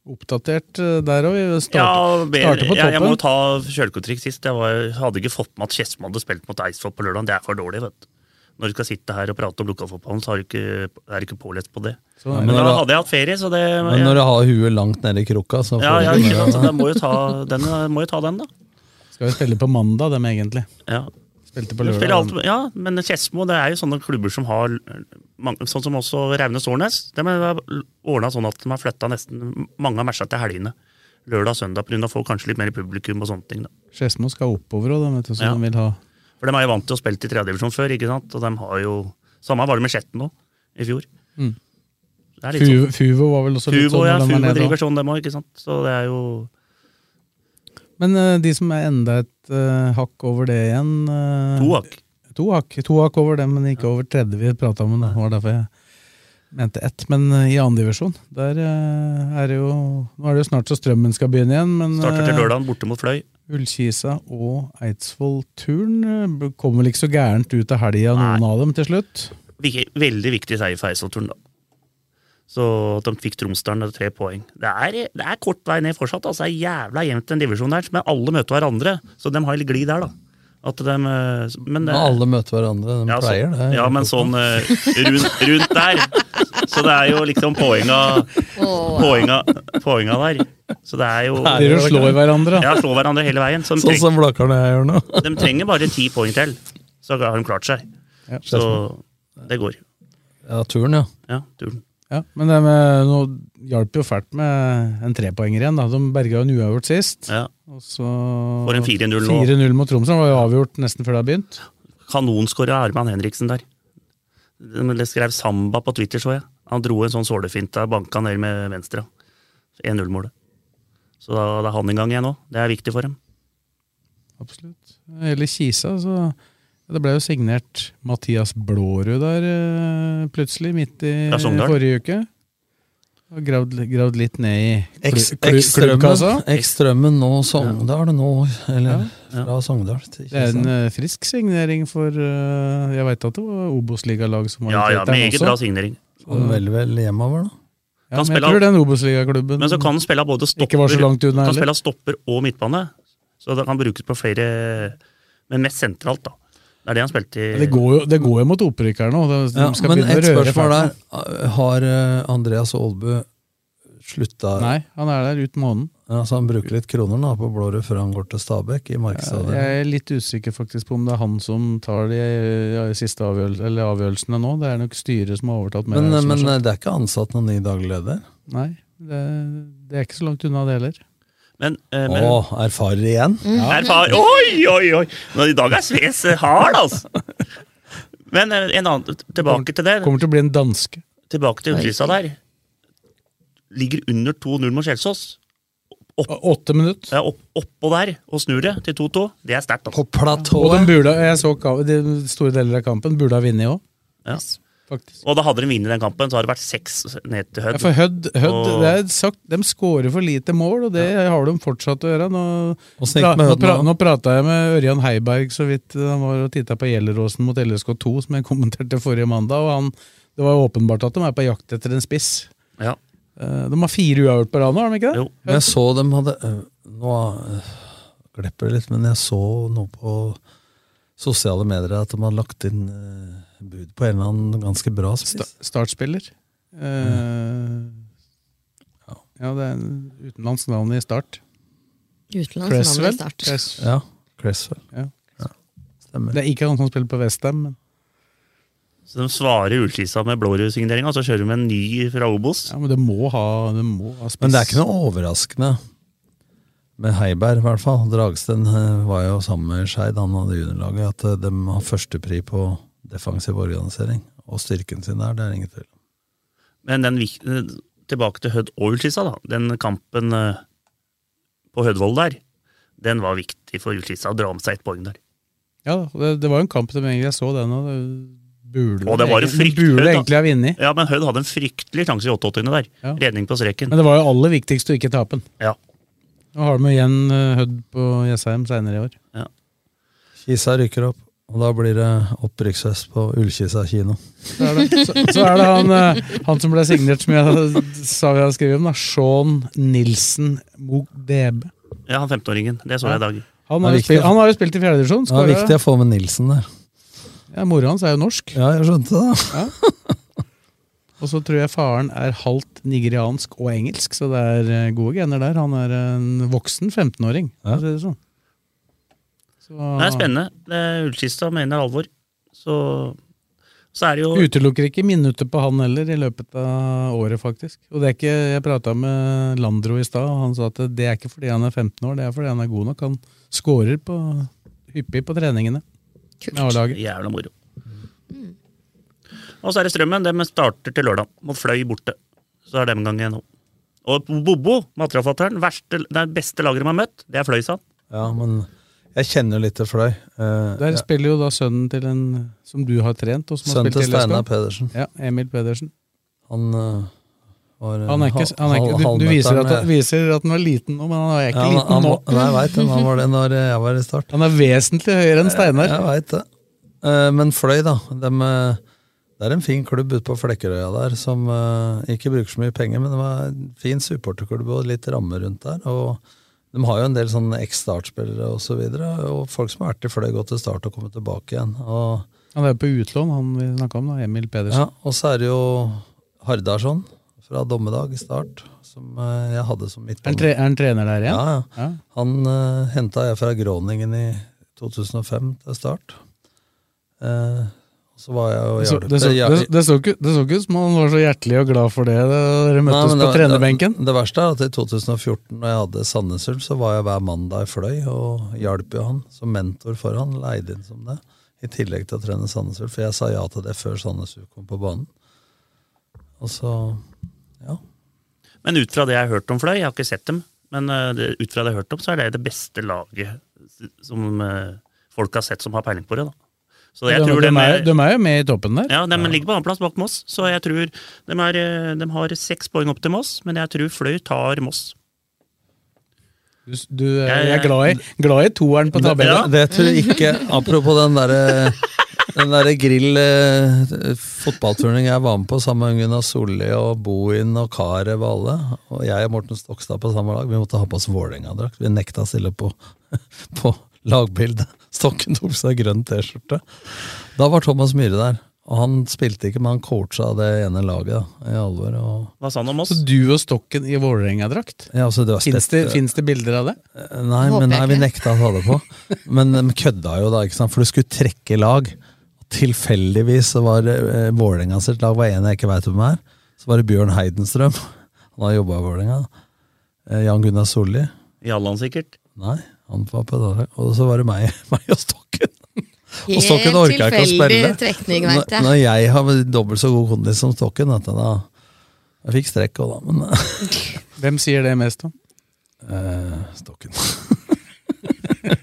Speaker 3: Oppdatert eh, der òg. Vi
Speaker 2: Mm. Ja,
Speaker 3: starter,
Speaker 2: mer,
Speaker 3: starter på
Speaker 2: jeg, jeg må jo
Speaker 3: toppen.
Speaker 2: ta kjølkotrikk sist. Jeg var, hadde ikke fått med at Skedsmo hadde spilt mot Eidsvoll på lørdag. Det er for dårlig, vet du. Når du skal sitte her og prate om lokalfotballen, så har du ikke, er du ikke pålest på det.
Speaker 5: Sånn er det. Men
Speaker 2: men da
Speaker 5: når-
Speaker 2: hadde jeg hatt ferie, så det
Speaker 5: Men når du har huet langt nede i krukka, så
Speaker 2: ja, ja,
Speaker 5: du
Speaker 2: ikke sant, så da må jo ta den, må jo ta den da.
Speaker 3: Skal vi spille på mandag, dem egentlig?
Speaker 2: Ja.
Speaker 3: Spilte på
Speaker 2: Du spiller alt,
Speaker 3: lørdag.
Speaker 2: ja, men Skedsmo det er jo sånne klubber som har mange- Sånn som også Raunes Årnes. De har ordna sånn at de har flytta nesten mange av matchene til helgene. Lørdag og søndag, pga. å få kanskje litt mer publikum og sånne ting. da.
Speaker 3: Skedsmo skal oppover òg, vet du, så
Speaker 2: Ja.
Speaker 3: de vil ha
Speaker 2: For de er jo vant til å spille i tredjedivisjon før, ikke sant? Og de har jo Samme var det med Skjetten nå, i fjor.
Speaker 3: Mm.
Speaker 2: Det er litt
Speaker 3: Fuvo
Speaker 2: sånn.
Speaker 3: Fuvo var vel også litt
Speaker 2: Fuvo,
Speaker 3: sånn?
Speaker 2: ja,
Speaker 3: når de er
Speaker 2: Fuvo
Speaker 3: nede da.
Speaker 2: driver sånn, dem òg, ikke sant. Så det er jo
Speaker 3: Men eh, de som er enda et eh, hakk over det igjen eh,
Speaker 2: To hakk.
Speaker 3: To hakk. To hakk over det, men ikke over tredje vi prata om. Det var derfor jeg mente ett. Men eh, i andre divisjon, der eh, er det jo Nå er det jo snart så strømmen skal begynne igjen, men
Speaker 2: Starter til
Speaker 3: eh,
Speaker 2: lørdagen, borte mot Fløy.
Speaker 3: Ullkisa og Eidsvoll Turn eh, kom vel ikke så gærent ut av helga, noen av dem, til slutt?
Speaker 2: Vik- Veldig viktig seier for Eidsvollturen, da. Så at de fikk Tromsdalen med tre poeng. Det er, det er kort vei ned fortsatt. altså. Det er jævla jevnt den divisjonen der, men alle møter hverandre. Så de har litt glid der, da. At de, eh, men, eh,
Speaker 5: Men alle møter hverandre, de
Speaker 2: ja, så-
Speaker 5: pleier det.
Speaker 2: Ja, men sånn eh, rundt, rundt der. Så det er jo liksom poenga,
Speaker 4: Åh.
Speaker 2: poenga, poenga der. Så det er jo
Speaker 3: Det er jo å slå i hverandre.
Speaker 2: Ja, slå hverandre hele veien. Så de,
Speaker 5: Sånn som
Speaker 2: trenger,
Speaker 5: Blakarne jeg gjør nå.
Speaker 2: de trenger bare ti poeng til, så har de klart seg. Så det går.
Speaker 5: Ja, turen, ja.
Speaker 2: Ja, turen.
Speaker 3: Ja, men det med, nå hjalp jo fælt med en trepoenger igjen. da. De berga en uavgjort sist.
Speaker 2: Ja.
Speaker 3: Og så
Speaker 2: Får en 4-0 nå.
Speaker 3: 4-0 mot Tromsø. Det var jo avgjort nesten før det hadde begynt.
Speaker 2: Kanonskårer Arman Henriksen der. Det skrev Samba på Twitter, så jeg. Han dro en sånn sålefinte, banka ned med venstre. 1-0-målet. Så da, det er han en gang igjen òg. Det er viktig for dem.
Speaker 3: Absolutt. Eller Kisa, så Det ble jo signert Mathias Blårud der eh, plutselig, midt i
Speaker 2: Fra Sogndal.
Speaker 3: forrige uke. Og gravd, gravd litt ned i klu-
Speaker 5: Eks- altså?
Speaker 3: klu-
Speaker 5: Ekstrømmen
Speaker 3: klubbkassa.
Speaker 5: Ekstrømmen nå Sogndal nå, eller fra Sogndal til
Speaker 3: Det er en
Speaker 5: Kristiansand.
Speaker 3: eh, frisk signering for eh, Jeg veit at det var Obos-ligalag som var
Speaker 2: Ja, ja,
Speaker 3: invitert der
Speaker 2: meget
Speaker 3: også.
Speaker 2: bra signering.
Speaker 5: Kom vel vel hjemover, da.
Speaker 3: Ja, men jeg
Speaker 2: spille-
Speaker 3: tror den Obos-ligaklubben
Speaker 2: Men så kan den spille av både stopper,
Speaker 3: ikke var så langt unna
Speaker 2: kan
Speaker 3: heller.
Speaker 2: spille av stopper og midtbane. Så det kan brukes på flere Men mest sentralt, da. Det er det han spilte i
Speaker 3: Det går jo, det går jo mot opprykker nå. De, de
Speaker 5: Ja,
Speaker 3: skal
Speaker 5: men
Speaker 3: begynne å
Speaker 5: et
Speaker 3: røre
Speaker 5: spørsmål
Speaker 3: fælt.
Speaker 5: der. Har eh, Andreas Aalbu slutta
Speaker 3: Nei, han er der ut måneden.
Speaker 5: Altså Han bruker litt kroner da på Blårud før han går til Stabæk i markedsavdelingen.
Speaker 3: Jeg er litt usikker faktisk på om det er han som tar de ja, siste avgjørel eller avgjørelsene nå. Det er nok styret som har overtatt. mer
Speaker 5: Men,
Speaker 3: av det som
Speaker 5: men
Speaker 3: er
Speaker 5: eh,
Speaker 3: sagt.
Speaker 5: det er ikke ansatt noen ny daglig leder?
Speaker 3: Nei, det, det er ikke så langt unna det heller.
Speaker 2: Men, eh, men
Speaker 5: Å, erfarer igjen?
Speaker 3: Mm.
Speaker 2: Erfar Oi, oi, oi! Men I dag er Sves hard, altså! Men eh, en annen, tilbake til det.
Speaker 3: Kommer til å bli en danske.
Speaker 2: Tilbake til Ullkisa der. Ligger under 2-0 mot Kjelsås.
Speaker 3: Åtte minutter.
Speaker 2: Ja, opp, oppå der og snur det til 2-2. Det er sterkt. altså.
Speaker 3: Og de burde, jeg så ka- de store deler av kampen burde ha vunnet òg.
Speaker 2: Ja. Og da hadde de vunnet den kampen, så hadde det vært seks ned til Hødd.
Speaker 3: For Hødd, Hødd
Speaker 2: Og-
Speaker 3: det er sagt, de skårer for lite mål, og det har de fortsatt å gjøre. Nå,
Speaker 5: Åssen gikk det med
Speaker 3: nå,
Speaker 5: Hødd
Speaker 3: pra,
Speaker 5: nå?
Speaker 3: nå prata jeg med Ørjan Heiberg så vidt eh, han var og titta på Gjelleråsen mot LSK2, som jeg kommenterte forrige mandag, og han, det var jo åpenbart at de er på jakt etter en spiss.
Speaker 2: Ja.
Speaker 3: Eh, De har fire uavgjort på rad nå, har de ikke det?
Speaker 5: Men Jeg så dem hadde øh, Nå øh, glipper det litt, men jeg så noe på sosiale medier at de hadde lagt inn øh, bud på en eller annen ganske bra spiss.
Speaker 3: startspiller.
Speaker 5: Mm.
Speaker 3: Eh, ja, det er en utenlandsk navn i start.
Speaker 4: Utenlands navn i start.
Speaker 3: Cresswell?
Speaker 5: Ja, Cresswell.
Speaker 3: Ja.
Speaker 5: Stemmer.
Speaker 3: Det er ikke han som spiller på Westham, men
Speaker 2: Så de svarer Ullkisa med blårødsigneringa, og så kjører de en ny fra Obos.
Speaker 3: Ja, men det må ha, det må ha spiss.
Speaker 5: Men det er ikke noe overraskende med Heiberg, i hvert fall. Dragsten øh, var jo sammen med Skeid, han hadde juniorlaget, at øh, de har førstepri på defensiv organisering. Og styrken sin der, det er ingen tvil om.
Speaker 2: Men den, vik- eh, tilbake til Hødd og Ullkisa, da. Den kampen eh, på Hødvold der, den var viktig for Ullkisa å dra med seg ett poeng der.
Speaker 3: Ja, da, og det, det var jo en kamp de egentlig jeg så den, og det burde,
Speaker 2: Og det var jo
Speaker 3: egentlig-
Speaker 2: fryktelig
Speaker 3: burde
Speaker 2: da.
Speaker 3: egentlig ha vunnet.
Speaker 2: Ja, men Hødd hadde en fryktelig sjanse i 88 der.
Speaker 3: Ja.
Speaker 2: Redning på streken.
Speaker 3: Men det var jo aller viktigst å ikke tape den.
Speaker 2: Ja.
Speaker 3: Nå har de igjen eh, Hødd på Jessheim seinere i år.
Speaker 5: Kisa rykker opp, og da blir det opprykksfest på Ullkisa kino.
Speaker 3: Så er det, så, så er det han, eh, han som ble signert, som jeg sa vi hadde skrevet om, da. Sean Nilsen Mogdebe.
Speaker 2: Ja, han 15-åringen. Det så jeg i dag.
Speaker 3: Han
Speaker 5: Det er
Speaker 3: har, jo
Speaker 5: viktig,
Speaker 3: spilt, han har jo spilt i fjerdedivisjon.
Speaker 5: Det er viktig å få med Nilsen der.
Speaker 3: Ja, Mora hans er jo norsk.
Speaker 5: Ja, jeg skjønte det.
Speaker 3: Og så tror jeg faren er halvt nigeriansk og engelsk, så det er eh, gode gener der. Han er en voksen 15-åring. for å si det Sånn. Så,
Speaker 2: Det er spennende. Det er Ullkista mener alvor. Så, så er det jo
Speaker 3: Utelukker ikke minutter på han heller i løpet av året, faktisk. Og det er ikke, Jeg prata med Landro i stad, og han sa at det er ikke fordi han er 15 år, det er fordi han er god nok. Han scorer på, hyppig på treningene. Med A-laget.
Speaker 2: Jævla moro. Og så er det Strømmen. De starter til lørdag. Mot Fløy borte. Så er det en gang igjen nå. Og Bobo, materialforfatteren, verste- det er beste laget de har møtt, det er Fløy, sa han.
Speaker 5: Ja, men jeg kjenner jo litt til Fløy. Eh,
Speaker 3: Der
Speaker 5: ja.
Speaker 3: spiller jo da sønnen til en som du har trent. og som har
Speaker 5: Sønnen
Speaker 3: spilt
Speaker 5: til
Speaker 3: i LSK.
Speaker 5: Steinar Pedersen.
Speaker 3: Ja, Emil Pedersen.
Speaker 5: Han eh, Var,
Speaker 3: Han er ikke, han er ikke, du, du viser at, viser at han var liten nå, men han er ikke liten
Speaker 5: han,
Speaker 3: nå.
Speaker 5: var- Nei, jeg vet det. men Han var det når eh, jeg var i start.
Speaker 3: Han er vesentlig høyere enn Steinar.
Speaker 5: Eh, Jeg vet det. Eh, Men Fløy, da. dem, eh, det er en fin klubb ute på Flekkerøya der, som eh, ikke bruker så mye penger, men det var en fin supporterklubb og litt ramme rundt der. og de har jo en del sånne eks-startspillere og så videre, og folk som har vært i Fløy, gått til start og kommet tilbake igjen. og
Speaker 3: Han er jo på utlån, han vi snakka om, da, Emil Pedersen.
Speaker 5: ja, og så er det jo Hardarson fra Dommedag i start, som eh, jeg hadde som
Speaker 3: Er han,
Speaker 5: midtbane.
Speaker 3: tre, er han trener der igjen?
Speaker 5: Ja, ja. Han uh, henta jeg fra Groningen i 2005 til start. Eh, og så var jeg jo
Speaker 3: Det så,
Speaker 5: hjelpe-
Speaker 3: det, så,
Speaker 5: ja-
Speaker 3: det, det, så ikke, det så ikke ut som han var så hjertelig og glad for det da dere
Speaker 5: Nei,
Speaker 3: møttes
Speaker 5: men
Speaker 3: på
Speaker 5: det-
Speaker 3: trenerbenken.
Speaker 5: Det, det verste er at i 2014, når jeg hadde Sandnes Ulf, så var jeg hver mandag i Fløy og hjalp jo han som mentor for han. Leide inn som det. I tillegg til å trene Sandnes Ulf. For jeg sa ja til det før Sandnes Ulf kom på banen. Og så
Speaker 2: Men ut fra det jeg har hørt om Fløy, jeg har ikke sett dem, men eh, det, ut fra det jeg har hørt om, så er det det beste laget s- som eh, folk har sett som har peiling på det. da. Så jeg
Speaker 3: de,
Speaker 2: tror
Speaker 3: de,
Speaker 2: dem
Speaker 3: er, de er jo med i toppen der.
Speaker 2: ja, de ligger på annenplass bak Moss, så jeg tror de, er, eh, de har seks poeng opp til Moss, men jeg tror Fløy tar Moss.
Speaker 3: Du, du er, jeg er glad i, glad i toeren på tabellen.
Speaker 5: Det, det tror jeg ikke Apropos den derre den der grill eh, fotballturnering jeg var med på sammen med Gunnar Solli og Bohin og Carew og alle. Og jeg og Morten Stokstad på samme lag. Vi måtte ha på oss Vålerenga-drakt. Vi nekta å stille på, på lagbildet. Stokken tok på seg grønn T-skjorte. Da var Thomas Myhre der. Og han spilte ikke, men han coacha det ene laget da, i alvor. og
Speaker 2: Hva sa han om oss?
Speaker 3: Så du og Stokken i Vålerenga-drakt?
Speaker 5: Ja, altså, det var
Speaker 3: Fins det,
Speaker 5: spett-
Speaker 3: finnes det bilder av det?
Speaker 5: Nei,
Speaker 3: Håper
Speaker 5: men
Speaker 3: jeg
Speaker 5: nei, vi
Speaker 3: ikke.
Speaker 5: nekta å ta det på. Men de kødda jo da, ikke sant? for du skulle trekke lag. Tilfeldigvis så var eh, Vålerenga sitt lag var en jeg ikke veit hvem er. Så var det Bjørn Heidenstrøm. Han har jobba i Vålerenga. Eh, Jan Gunnar Solli.
Speaker 2: Jalland, sikkert.
Speaker 5: Nei, han var på det. laget. Og så var det meg, meg og Stokken.
Speaker 4: Helt
Speaker 5: og Stokken orka ikke å
Speaker 4: tilfeldig
Speaker 5: spille.
Speaker 4: trekning, vet jeg.
Speaker 5: Når- Når jeg har dobbelt så god kondis som Stokken, vet du, da Jeg fikk strekk òg, da, men
Speaker 3: Hvem sier det mest, da?
Speaker 5: eh, Stokken.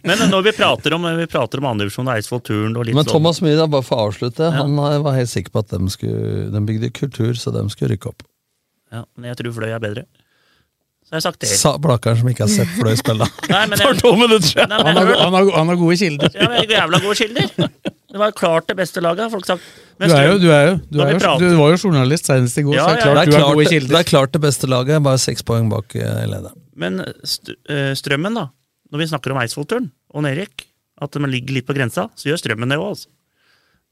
Speaker 2: Men eh, når vi prater om, vi prater om andredivisjon og Eidsvoll Turn og litt
Speaker 5: Men
Speaker 2: sånn-
Speaker 5: Thomas Myhre, bare for å avslutte, han eh, var helt sikker på at de, skulle, de bygde kultur, så de skulle rykke opp.
Speaker 2: Ja, men jeg tror Fløy er bedre. Så har jeg sagt det.
Speaker 5: Sa Blakkaren som ikke har sett Fløy spille.
Speaker 2: Nei, men
Speaker 5: For
Speaker 2: jeg-
Speaker 5: to minutter siden!
Speaker 2: Nei, men jeg hørte-
Speaker 3: gode kilder.
Speaker 2: Ja, men jævla gode kilder. Det var klart det beste laget, har folk sagt.
Speaker 3: Du, er jo, du, er jo, du,
Speaker 2: Når vi
Speaker 3: er jo,
Speaker 2: prater-
Speaker 3: du var jo journalist senest i går,
Speaker 2: Ja,
Speaker 3: så det er klart
Speaker 5: det, er
Speaker 3: du har
Speaker 5: klart,
Speaker 3: gode
Speaker 5: det,
Speaker 3: kilder.
Speaker 5: er klart det beste laget, bare seks poeng bak eh, lederen.
Speaker 2: Men st eh, Strømmen, da. Når vi snakker om Eidsvollturen og Nerik, at de ligger litt på grensa, så gjør Strømmen det òg, altså.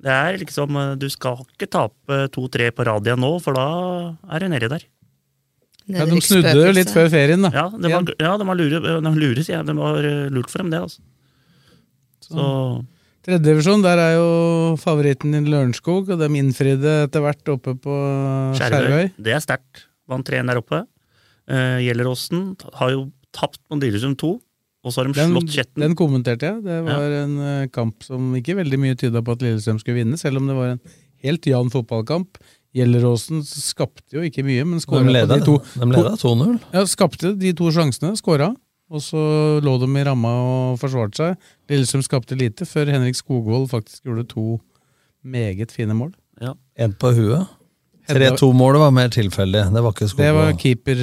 Speaker 2: Det er liksom eh, Du skal ikke tape to-tre på rad igjen nå, for da er du nedi der.
Speaker 3: Ja, de snudde jo litt før ferien, da.
Speaker 2: Ja, det var, ja de var lure, de lure, sier jeg. Det var eh, lurt for dem, det, altså. Så
Speaker 3: Tredjedivisjon, der er jo favoritten din Lørenskog, og de innfridde etter hvert oppe på Skjervøy.
Speaker 2: Skjervøy, det er sterkt. Vant 3-1 der oppe. Uh, Gjelleråsen har jo tapt på Lillestrøm 2, og så har de
Speaker 3: Den,
Speaker 2: slått Kjetten.
Speaker 3: den kommenterte jeg. Det var en eh, kamp som ikke veldig mye tyda på at Lillestrøm skulle vinne, selv om det var en helt jan fotballkamp. Gjelleråsen skapte jo ikke mye, men skåra
Speaker 5: De leda
Speaker 3: de to.
Speaker 5: de leda 2-0.
Speaker 3: Ja, skapte de to sjansene, skåra, og så lå de i ramma og forsvarte seg. Lillestrøm skapte lite, før Henrik Skogvold faktisk gjorde to meget fine mål.
Speaker 5: Én på huet.
Speaker 3: Hedda-
Speaker 5: 3-2-målet var mer tilfeldig. Det var ikke
Speaker 3: Det var
Speaker 5: skogmål.
Speaker 3: keeper,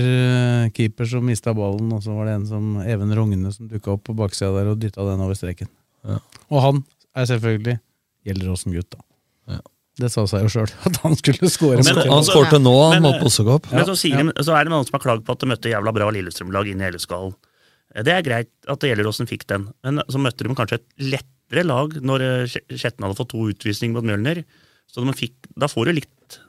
Speaker 3: eh, keeper som mista ballen, og så var det en som Even Rogne som dukka opp på baksida der og dytta den over streken.
Speaker 5: Ja.
Speaker 3: Og han er selvfølgelig Gjelleråsen-gutt, da. Det sa seg jo sjøl at han skulle skåre.
Speaker 2: Men-
Speaker 5: altså,
Speaker 3: mot-
Speaker 2: Han skårte nå, han
Speaker 3: Men,
Speaker 2: mot
Speaker 5: Ossekopp.
Speaker 2: Men så,
Speaker 3: Ja.
Speaker 2: sier de, så er det noen som har klagd på at de møtte jævla bra Lillestrøm-lag inn i Elleskalen. Eh, Det er greit at Gjelleråsen fikk den, men så møtte de kanskje et lettere lag når eh, Skje- Skjetten hadde fått to utvisninger mot Mjølner. Så de fikk, da får du litt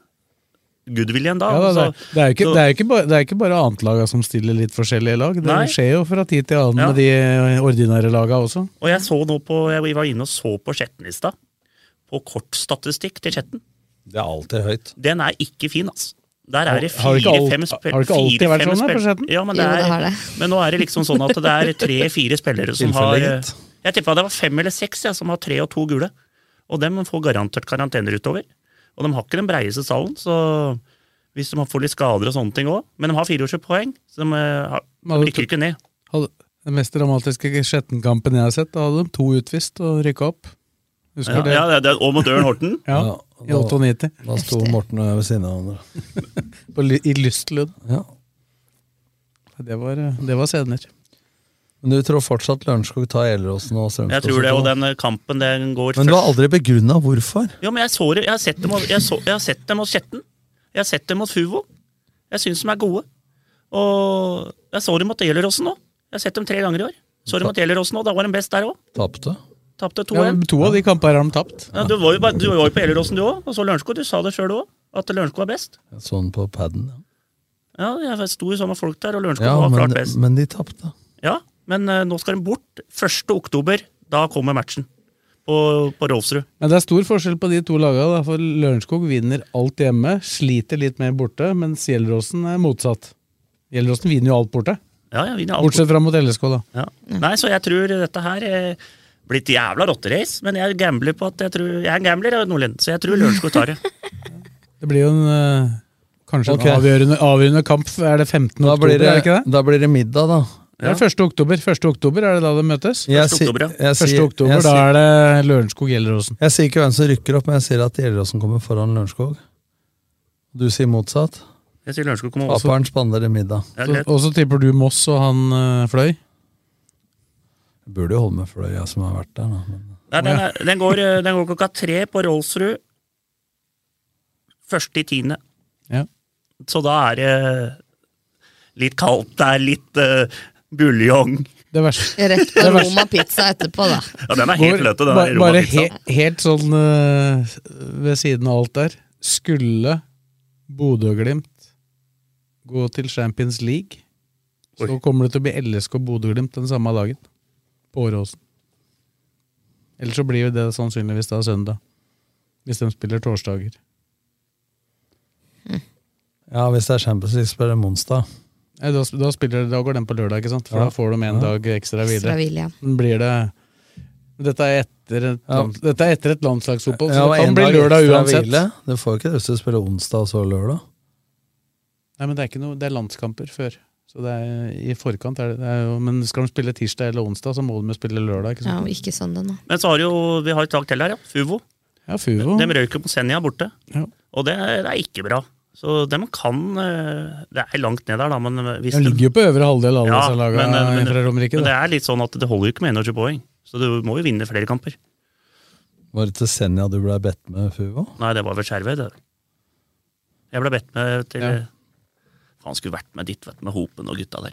Speaker 2: goodwill igjen, altså, da.
Speaker 3: Ja, da,
Speaker 2: Så-
Speaker 3: det, er, det, er jo ikke,
Speaker 2: så-
Speaker 3: det, er jo ikke bare, det er ikke bare annetlaga som stiller litt forskjellige lag. Det
Speaker 2: Nei.
Speaker 3: skjer jo fra tid til annen
Speaker 2: Ja.
Speaker 3: med de eh, ordinære laga også.
Speaker 2: Og jeg så nå på, jeg var inne og så på Skjetten i stad. På kortstatistikk til Skjetten.
Speaker 5: Det er alltid høyt.
Speaker 2: Den er ikke fin, altså. Der er det
Speaker 3: Har det ikke alt-
Speaker 2: fire-fem
Speaker 3: har det ikke alltid vært sånn her på Skjetten?
Speaker 2: Ja, men,
Speaker 3: Jo,
Speaker 2: det
Speaker 3: det
Speaker 2: er,
Speaker 3: har det.
Speaker 2: men nå er det liksom sånn at det er tre-fire spillere som har
Speaker 3: Tilfeldig,
Speaker 2: eh,
Speaker 3: gitt.
Speaker 2: Jeg tippa det var fem eller seks ja, som har tre og to gule. Og dem får garantert karantener utover. Og de har ikke den breieste salen, så hvis de får litt skader og sånne ting òg. Men de har 24 poeng, så de, eh, har- de rykker ikke ned.
Speaker 3: Hadde, den mest dramatiske Skjetten-kampen jeg har sett, da hadde de to utvist og rykka opp. Husker
Speaker 2: Ja,
Speaker 3: det?
Speaker 2: ja, det, det, og mot Ørn Horten.
Speaker 3: Ja. I 98.
Speaker 5: Da sto Morten og jeg ved siden av hverandre.
Speaker 3: På, ly- I lystlønn.
Speaker 5: Ja.
Speaker 3: Det var, eh, det var senere.
Speaker 5: Men du tror fortsatt Lørenskog tar Gjelleråsen og Strømskog?
Speaker 2: Jeg tror det, og den eh, kampen den går
Speaker 5: Men du har
Speaker 2: først.
Speaker 5: aldri begrunna hvorfor?
Speaker 2: Jo, men jeg, så det, jeg, har sett dem, over- jeg, så, jeg har sett dem mot Skjetten. Jeg har sett dem mot Fuvo. Jeg syns de er gode. Og jeg så dem mot Gjelleråsen nå. Jeg har sett dem tre ganger i år. Så dem mot Gjelleråsen nå, da var de best der òg.
Speaker 5: Tapte?
Speaker 2: Tapte 2-1.
Speaker 3: Ja, to av de kampene har de tapt.
Speaker 2: Ja, du, var jo, bare- du var jo på Gjelleråsen du òg, og så Lørenskog. Du sa det sjøl òg, at Lørenskog er best.
Speaker 5: Sånn på paden. ja.
Speaker 2: Ja, jeg sto jo sammen med folk der, og Lørenskog
Speaker 5: Ja,
Speaker 2: var
Speaker 5: men,
Speaker 2: klart best.
Speaker 5: men de tapte.
Speaker 2: Ja, men eh, nå skal de bort. 1. oktober, da kommer matchen på, på Rolfsrud.
Speaker 3: Men det er stor forskjell på de to lagene. Da, for Lørenskog vinner alt hjemme, sliter litt mer borte, mens Gjelleråsen er motsatt. Gjelleråsen vinner jo alt borte.
Speaker 2: Ja, jeg vinner alt.
Speaker 3: Bortsett fra mot LSK, da.
Speaker 2: Ja. Nei, så jeg tror dette her eh, blir et jævla rotterace, men jeg gambler på at jeg tror Jeg er en gambler, jeg, Nordlien, så jeg tror Lørenskog tar det.
Speaker 3: Det blir jo en eh, kanskje
Speaker 5: Ok.
Speaker 3: en avgjørende, avgjørende kamp. Er det 15.
Speaker 5: Da
Speaker 3: oktober,
Speaker 5: blir,
Speaker 3: er det ikke
Speaker 5: det,
Speaker 3: det?
Speaker 5: da blir det middag, da.
Speaker 3: Det er 1. oktober. 1. oktober er det da de møtes?
Speaker 5: Jeg si- jeg
Speaker 3: 1.
Speaker 5: sier-
Speaker 3: oktober,
Speaker 5: jeg
Speaker 3: da
Speaker 5: sier-
Speaker 3: er det Lørenskog-Gjelleråsen.
Speaker 5: Jeg sier ikke hvem som rykker opp, men jeg sier at Gjelleråsen kommer foran Lørenskog. Du sier motsatt.
Speaker 2: Jeg sier Lørenskog kommer også.
Speaker 5: Aperen spanderer middag.
Speaker 2: Ja,
Speaker 3: Så-
Speaker 2: greit.
Speaker 3: Og så tipper du Moss og han eh, Fløy?
Speaker 5: Jeg burde jo holde med Fløy, jeg som har vært der. Da. Men
Speaker 2: Nei, den, er, den, går, eh, den går klokka tre på Rolfsrud. Første i tiende.
Speaker 3: Ja.
Speaker 2: Så da er det eh, litt kaldt, det er litt eh, buljong.
Speaker 3: Det verste.
Speaker 4: Rett på Roma pizza etterpå, da.
Speaker 2: Ja, den er helt
Speaker 3: Går-
Speaker 2: løtt, den
Speaker 3: ba-
Speaker 2: der
Speaker 3: Bare he,
Speaker 2: romapizzaen.
Speaker 3: helt sånn eh, ved siden av alt der. Skulle Bodø og Glimt gå til Champions League, så kommer det til å bli LSK og Bodø og Glimt den samme dagen. På Åråsen. Eller så blir jo det sannsynligvis da søndag. Hvis de spiller torsdager.
Speaker 5: Ja, Hvis det er Champions League, spiller de onsdag.
Speaker 3: Nei, da, da, spiller, da går den på lørdag, ikke sant? For
Speaker 5: Ja.
Speaker 3: da får de en
Speaker 5: Ja.
Speaker 3: dag ekstra hvile.
Speaker 4: Ekstra hvile, ja.
Speaker 3: Den Blir det dette er, etter et
Speaker 5: Ja.
Speaker 3: land, dette er etter et landslagsopphold, så
Speaker 5: og
Speaker 3: det
Speaker 5: en
Speaker 3: kan bli
Speaker 5: dag
Speaker 3: lørdag
Speaker 5: ekstra
Speaker 3: uansett.
Speaker 5: hvile. Du får ikke lyst til å spille onsdag og så lørdag.
Speaker 3: Nei, men det er ikke noe, det er landskamper før. Så det er i forkant. Er det, det er jo, men skal de spille tirsdag eller onsdag, så må de jo spille lørdag. ikke
Speaker 4: Ja,
Speaker 3: sant?
Speaker 4: og ikke
Speaker 9: sånn
Speaker 4: søndag nå.
Speaker 2: Men så har jo, vi har et lag til her, ja. Fuvo.
Speaker 3: Ja, Fuvo.
Speaker 2: De røyk jo på Senja borte,
Speaker 3: Ja.
Speaker 2: og det, er- det er ikke bra. Så de kan eh, Det er langt ned der, da, men hvis
Speaker 3: De ligger jo på øvre halvdel, alle
Speaker 2: Ja,
Speaker 3: disse
Speaker 2: men, eh,
Speaker 3: lagene
Speaker 2: men-
Speaker 3: fra Romerike.
Speaker 2: Men det
Speaker 3: da.
Speaker 2: er litt sånn at det holder jo ikke med 21 poeng, så du må jo vinne flere kamper.
Speaker 5: Var det til Senja du ble bedt med, Fuvo?
Speaker 2: Nei, det var vel Skjervøy, det. Jeg ble bedt med til
Speaker 3: Ja.
Speaker 2: Faen, skulle vært med dit, vet du, med Hopen og gutta der.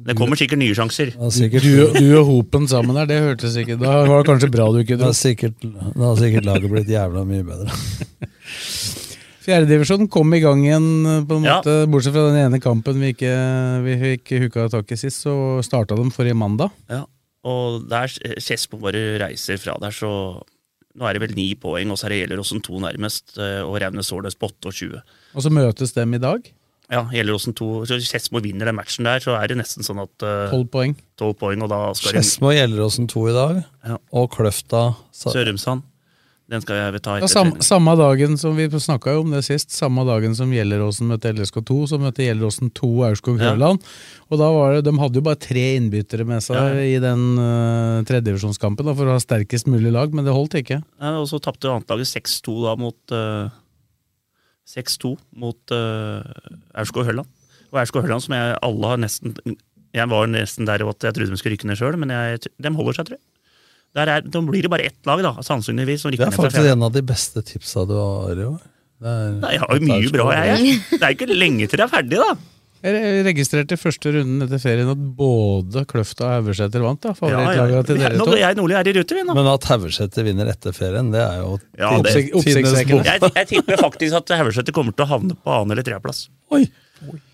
Speaker 2: Det kommer sikkert nye sjanser.
Speaker 5: Det er sikkert,
Speaker 3: Du, du og Hopen sammen der, det hørtes ikke Da var det kanskje bra du ikke
Speaker 5: det
Speaker 3: dro.
Speaker 5: er sikkert, det har sikkert laget blitt jævla mye bedre.
Speaker 3: Fjerdedivisjonen kom i gang igjen, på en
Speaker 2: Ja.
Speaker 3: måte, bortsett fra den ene kampen vi ikke, vi ikke hooka tak i sist. Så starta de forrige mandag.
Speaker 2: Ja. Og der Skedsmo bare reiser fra der, så nå er det vel ni poeng, og så er det Gjelleråsen to nærmest, eh, og Raunes Sårnes på 28.
Speaker 3: Og så møtes dem i dag.
Speaker 2: Ja, Gjelleråsen to Så hvis Skedsmo vinner den matchen der, så er det nesten sånn at eh,
Speaker 3: Tolv poeng.
Speaker 2: tolv poeng, og da skal de
Speaker 5: Skedsmo og Gjelleråsen 2 i dag,
Speaker 2: Ja.
Speaker 5: og Kløfta sa-
Speaker 2: Sørumsand. Den skal jeg ta
Speaker 3: Ja,
Speaker 2: etter.
Speaker 3: sam,
Speaker 2: trening.
Speaker 3: samme dagen som vi snakka jo om det sist, samme dagen som Gjelleråsen møtte LSK2, så møtte Gjelleråsen 2 Aurskog
Speaker 2: Ja.
Speaker 3: Høland. Og da var det, De hadde jo bare tre innbyttere med seg
Speaker 2: Ja, ja.
Speaker 3: i den uh, tredjedivisjonskampen da, for å ha sterkest mulig lag, men det holdt ikke.
Speaker 2: Ja, og så tapte annetlaget 6-2 da mot eh, 6-2 mot eh, Aurskog Høland. Og Aurskog Høland som jeg alle har nesten Jeg var nesten der at jeg trodde de skulle rykke ned sjøl, men jeg, de holder seg, tror jeg. Der er, da blir det bare ett lag, da, sannsynligvis. som rykker
Speaker 5: Det er
Speaker 2: ned fra
Speaker 5: faktisk
Speaker 2: fjerde.
Speaker 5: en av de beste tipsa du har i år. Det er,
Speaker 2: Nei, jeg har jo mye bra, jeg. jeg. Det er jo ikke lenge til jeg er ferdig, da.
Speaker 3: Jeg re- registrerte i første runden etter ferien at både Kløfta og Haugesæter vant. da,
Speaker 2: Ja,
Speaker 3: favorittlaga
Speaker 2: ja.
Speaker 3: til
Speaker 2: Jeg,
Speaker 3: dere
Speaker 2: nå,
Speaker 3: to.
Speaker 2: jeg og Nordli er i rute, vi nå.
Speaker 5: Men at Haugesæter vinner etter ferien, det er jo
Speaker 2: Ja, det-
Speaker 5: tidenes-
Speaker 3: Oppsiktsvekkende.
Speaker 5: tidenes
Speaker 2: Jeg, jeg tipper faktisk at Haugesæter kommer til å havne på annen- eller tredjeplass.
Speaker 5: Oi,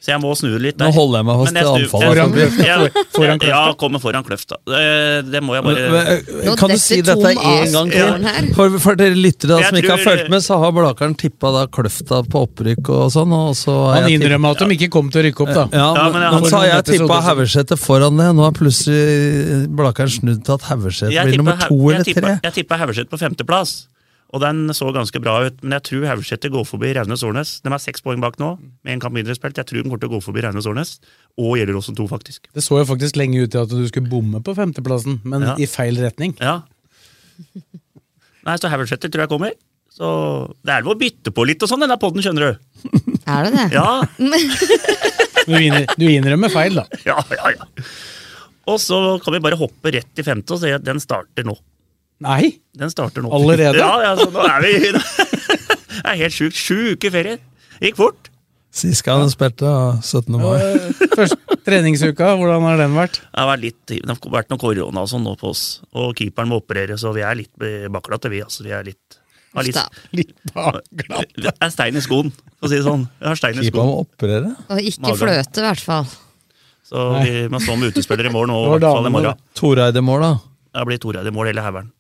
Speaker 2: Så jeg må snu det litt
Speaker 5: nå
Speaker 2: der.
Speaker 5: holder jeg meg fast
Speaker 2: Men jeg
Speaker 5: til
Speaker 2: snur-
Speaker 5: anfallet.
Speaker 2: jeg-
Speaker 3: Foran Kløfta,
Speaker 2: jeg-
Speaker 3: foran Kløfta.
Speaker 2: Ja, kommer foran Kløfta. Det, det må jeg bare
Speaker 5: Men,
Speaker 4: Nå
Speaker 5: men, kan du
Speaker 4: detter
Speaker 5: si dette
Speaker 4: Tom av
Speaker 5: en gang
Speaker 4: stolen her.
Speaker 5: til? For, for dere lyttere da,
Speaker 2: Jeg
Speaker 5: som ikke har
Speaker 2: tror-
Speaker 5: fulgt med, så har Blakeren tippa da Kløfta på opprykk og sånn. Og så har
Speaker 3: Han
Speaker 5: jeg tippet-
Speaker 3: innrømmer at de ikke kom til å rykke opp, da.
Speaker 5: Ja,
Speaker 2: Ja,
Speaker 5: men,
Speaker 2: men jeg-
Speaker 5: men så har jeg
Speaker 3: Episode
Speaker 5: tippa
Speaker 3: som-
Speaker 5: Haugesæter foran det. Nå har plutselig Blakeren snudd til at Haugesæter
Speaker 2: Jeg
Speaker 5: blir nummer
Speaker 2: tipper-
Speaker 5: to
Speaker 2: jeg
Speaker 5: eller
Speaker 2: tipper-
Speaker 5: tre.
Speaker 2: Jeg tippa Haugesæter på femteplass, og den så ganske bra ut. Men jeg tror Haugesæter går forbi Raunes Årnes. De er seks poeng bak nå, med en kamp mindre spilt. Jeg tror de kommer til å gå forbi Raunes Årnes, og Gjelleråsen 2, faktisk.
Speaker 3: Det så jo faktisk lenge ut til at du skulle bomme på femteplassen, men
Speaker 2: Ja.
Speaker 3: i feil retning.
Speaker 2: Ja. Nei, så Haugesæter tror jeg kommer. Så det er lov å bytte på litt og sånn, denne podden, skjønner du.
Speaker 9: Er det det?
Speaker 2: Ja.
Speaker 10: Du, innr du innrømmer feil, da.
Speaker 2: Ja, ja, ja. Og så kan vi bare hoppe rett i femte og si at den starter nå.
Speaker 10: Nei!
Speaker 2: Den starter nå.
Speaker 10: Allerede?
Speaker 2: Ja, ja, så nå er vi Det er helt sjukt. Sju uker ferie. Gikk fort.
Speaker 5: Sist gang han spilte, ja, 17. mai.
Speaker 10: Første treningsuka, hvordan har den vært?
Speaker 2: Det har vært, litt, det har vært noe korona og sånn nå på oss, og keeperen må operere, så vi er litt baklate, vi. altså. Vi er litt har
Speaker 9: Uff da.
Speaker 10: Litt
Speaker 2: baklate. Det er stein i skoen, for å si det sånn. Vi har stein i
Speaker 5: Keeper
Speaker 2: skoen.
Speaker 5: må operere.
Speaker 9: Og ikke
Speaker 2: Magen.
Speaker 9: fløte, i hvert fall.
Speaker 2: Så vi må stå med utespillere i morgen, og i
Speaker 5: Det var
Speaker 2: hvert fall i
Speaker 5: damene,
Speaker 2: morgen.
Speaker 5: da. Toreid i mål, da.
Speaker 2: Da blir Toreid i mål, hele haugen.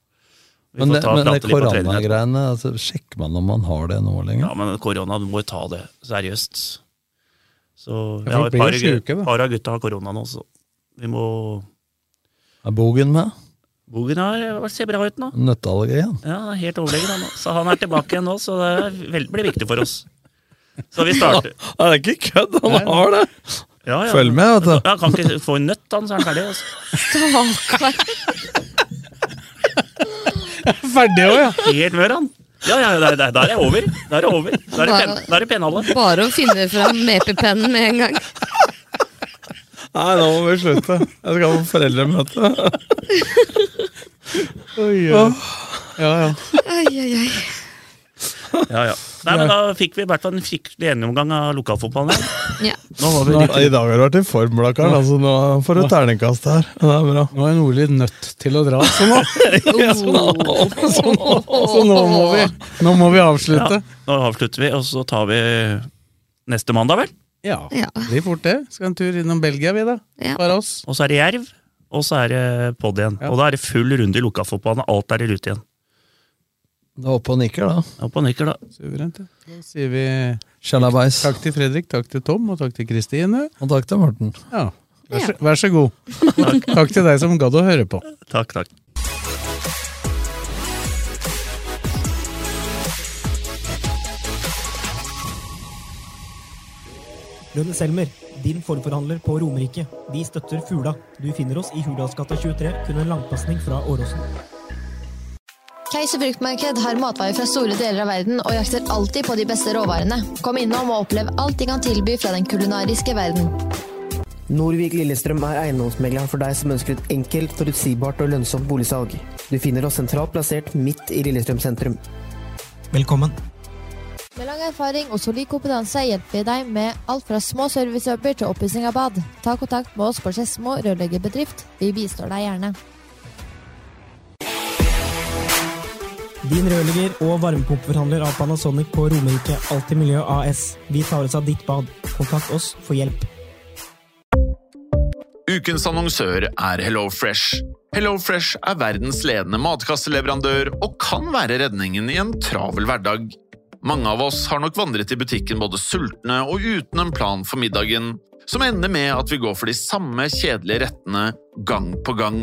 Speaker 2: Vi
Speaker 5: Men
Speaker 2: får
Speaker 5: det,
Speaker 2: ta og
Speaker 5: men det
Speaker 2: prate litt på trening etterpå.
Speaker 5: koronagreiene, altså, sjekker man om man har det nå lenger?
Speaker 2: Ja, men korona, du må jo ta det seriøst. Så vi
Speaker 10: Ja,
Speaker 2: har
Speaker 10: folk
Speaker 2: et
Speaker 10: blir
Speaker 2: par,
Speaker 10: jo
Speaker 2: syke,
Speaker 10: syke, da.
Speaker 2: par av gutta har korona nå, så vi må
Speaker 5: Er Bogen med?
Speaker 2: Bogen har, ser bra ut nå.
Speaker 5: Nøtteallergien?
Speaker 2: Ja, han er helt overlegen, han nå. Så han er tilbake igjen nå, så det er vel- blir viktig for oss. Så vi starter.
Speaker 5: Ja, det er ikke kødd, han har det!
Speaker 2: Ja, ja.
Speaker 5: Følg med, vet du.
Speaker 2: Ja, kan ikke få en nøtt, han, så er han ferdig. Altså.
Speaker 9: Stakkar.
Speaker 10: Ferdig òg, ja!
Speaker 2: Helt mør, han. Ja, ja, der, der, der er det over. Der er det over. Der er, pen, der er pennhallet.
Speaker 9: Bare å finne fram mepepennen med en gang.
Speaker 5: Nei, nå må vi slutte. Jeg skal på foreldremøte.
Speaker 10: Oi, oi. Ja, ja.
Speaker 9: Ai, ai, ai.
Speaker 2: Ja, ja. Nei, men da fikk vi i hvert fall en skikkelig gjennomgang av lokalfotballen. her.
Speaker 9: Ja.
Speaker 2: Nå var vi
Speaker 5: Nå,
Speaker 2: litt
Speaker 5: I dag har du vært i form, da, Karl. Altså, nå får du terningkast her. Ja, Det er bra.
Speaker 10: Nå er Nordli nødt til å dra, så nå, så nå, må, vi, nå må vi avslutte.
Speaker 2: Nå avslutter vi, og så tar vi neste mandag, vel?
Speaker 10: Ja,
Speaker 9: Ja.
Speaker 10: det blir fort det. Skal en tur innom Belgia, vi da.
Speaker 9: Ja.
Speaker 10: Bare oss.
Speaker 2: Og så er det Jerv, og så er det Podd igjen.
Speaker 10: Ja.
Speaker 2: Og da er det full runde i lokalfotballen, og alt er i rute igjen.
Speaker 5: Du er oppe og nikker, da.
Speaker 2: Opp og nikker, da.
Speaker 10: Suverent. ja. Da sier vi
Speaker 5: Sjalabais.
Speaker 10: takk til Fredrik, takk til Tom og takk til Kristine.
Speaker 5: Og takk til Morten.
Speaker 10: Ja. Vær, så, vær så god. Takk til deg som gadd å høre på.
Speaker 2: Takk, takk.
Speaker 1: Lønne Selmer, din forforhandler på Romerike. Vi støtter Fula. Du finner oss i Hurdalsgata 23, kun en langpasning fra Åråsen.
Speaker 4: Keiser fruktmarked har matvarer fra store deler av verden og jakter alltid på de beste råvarene. Kom innom og opplev alt de kan tilby fra den kulinariske verden.
Speaker 11: Norvik Lillestrøm er eiendomsmegleren for deg som ønsker et enkelt, forutsigbart og lønnsomt boligsalg. Du finner oss sentralt plassert midt i Lillestrøm sentrum.
Speaker 1: Velkommen.
Speaker 4: Med lang erfaring og solid kompetanse hjelper vi deg med alt fra små servicejobber til oppussing av bad. Ta kontakt med oss på Skedsmo rørleggerbedrift. Vi bistår deg gjerne.
Speaker 1: Din rørlegger og varmepumpeforhandler av Panasonic på Romerike Alltid Miljø AS. Vi tar oss av ditt bad. Kontakt oss for hjelp.
Speaker 3: Ukens annonsør er HelloFresh. HelloFresh er verdens ledende matkasseleverandør og kan være redningen i en travel hverdag. Mange av oss har nok vandret i butikken både sultne og uten en plan for middagen, som ender med at vi går for de samme kjedelige rettene gang på gang.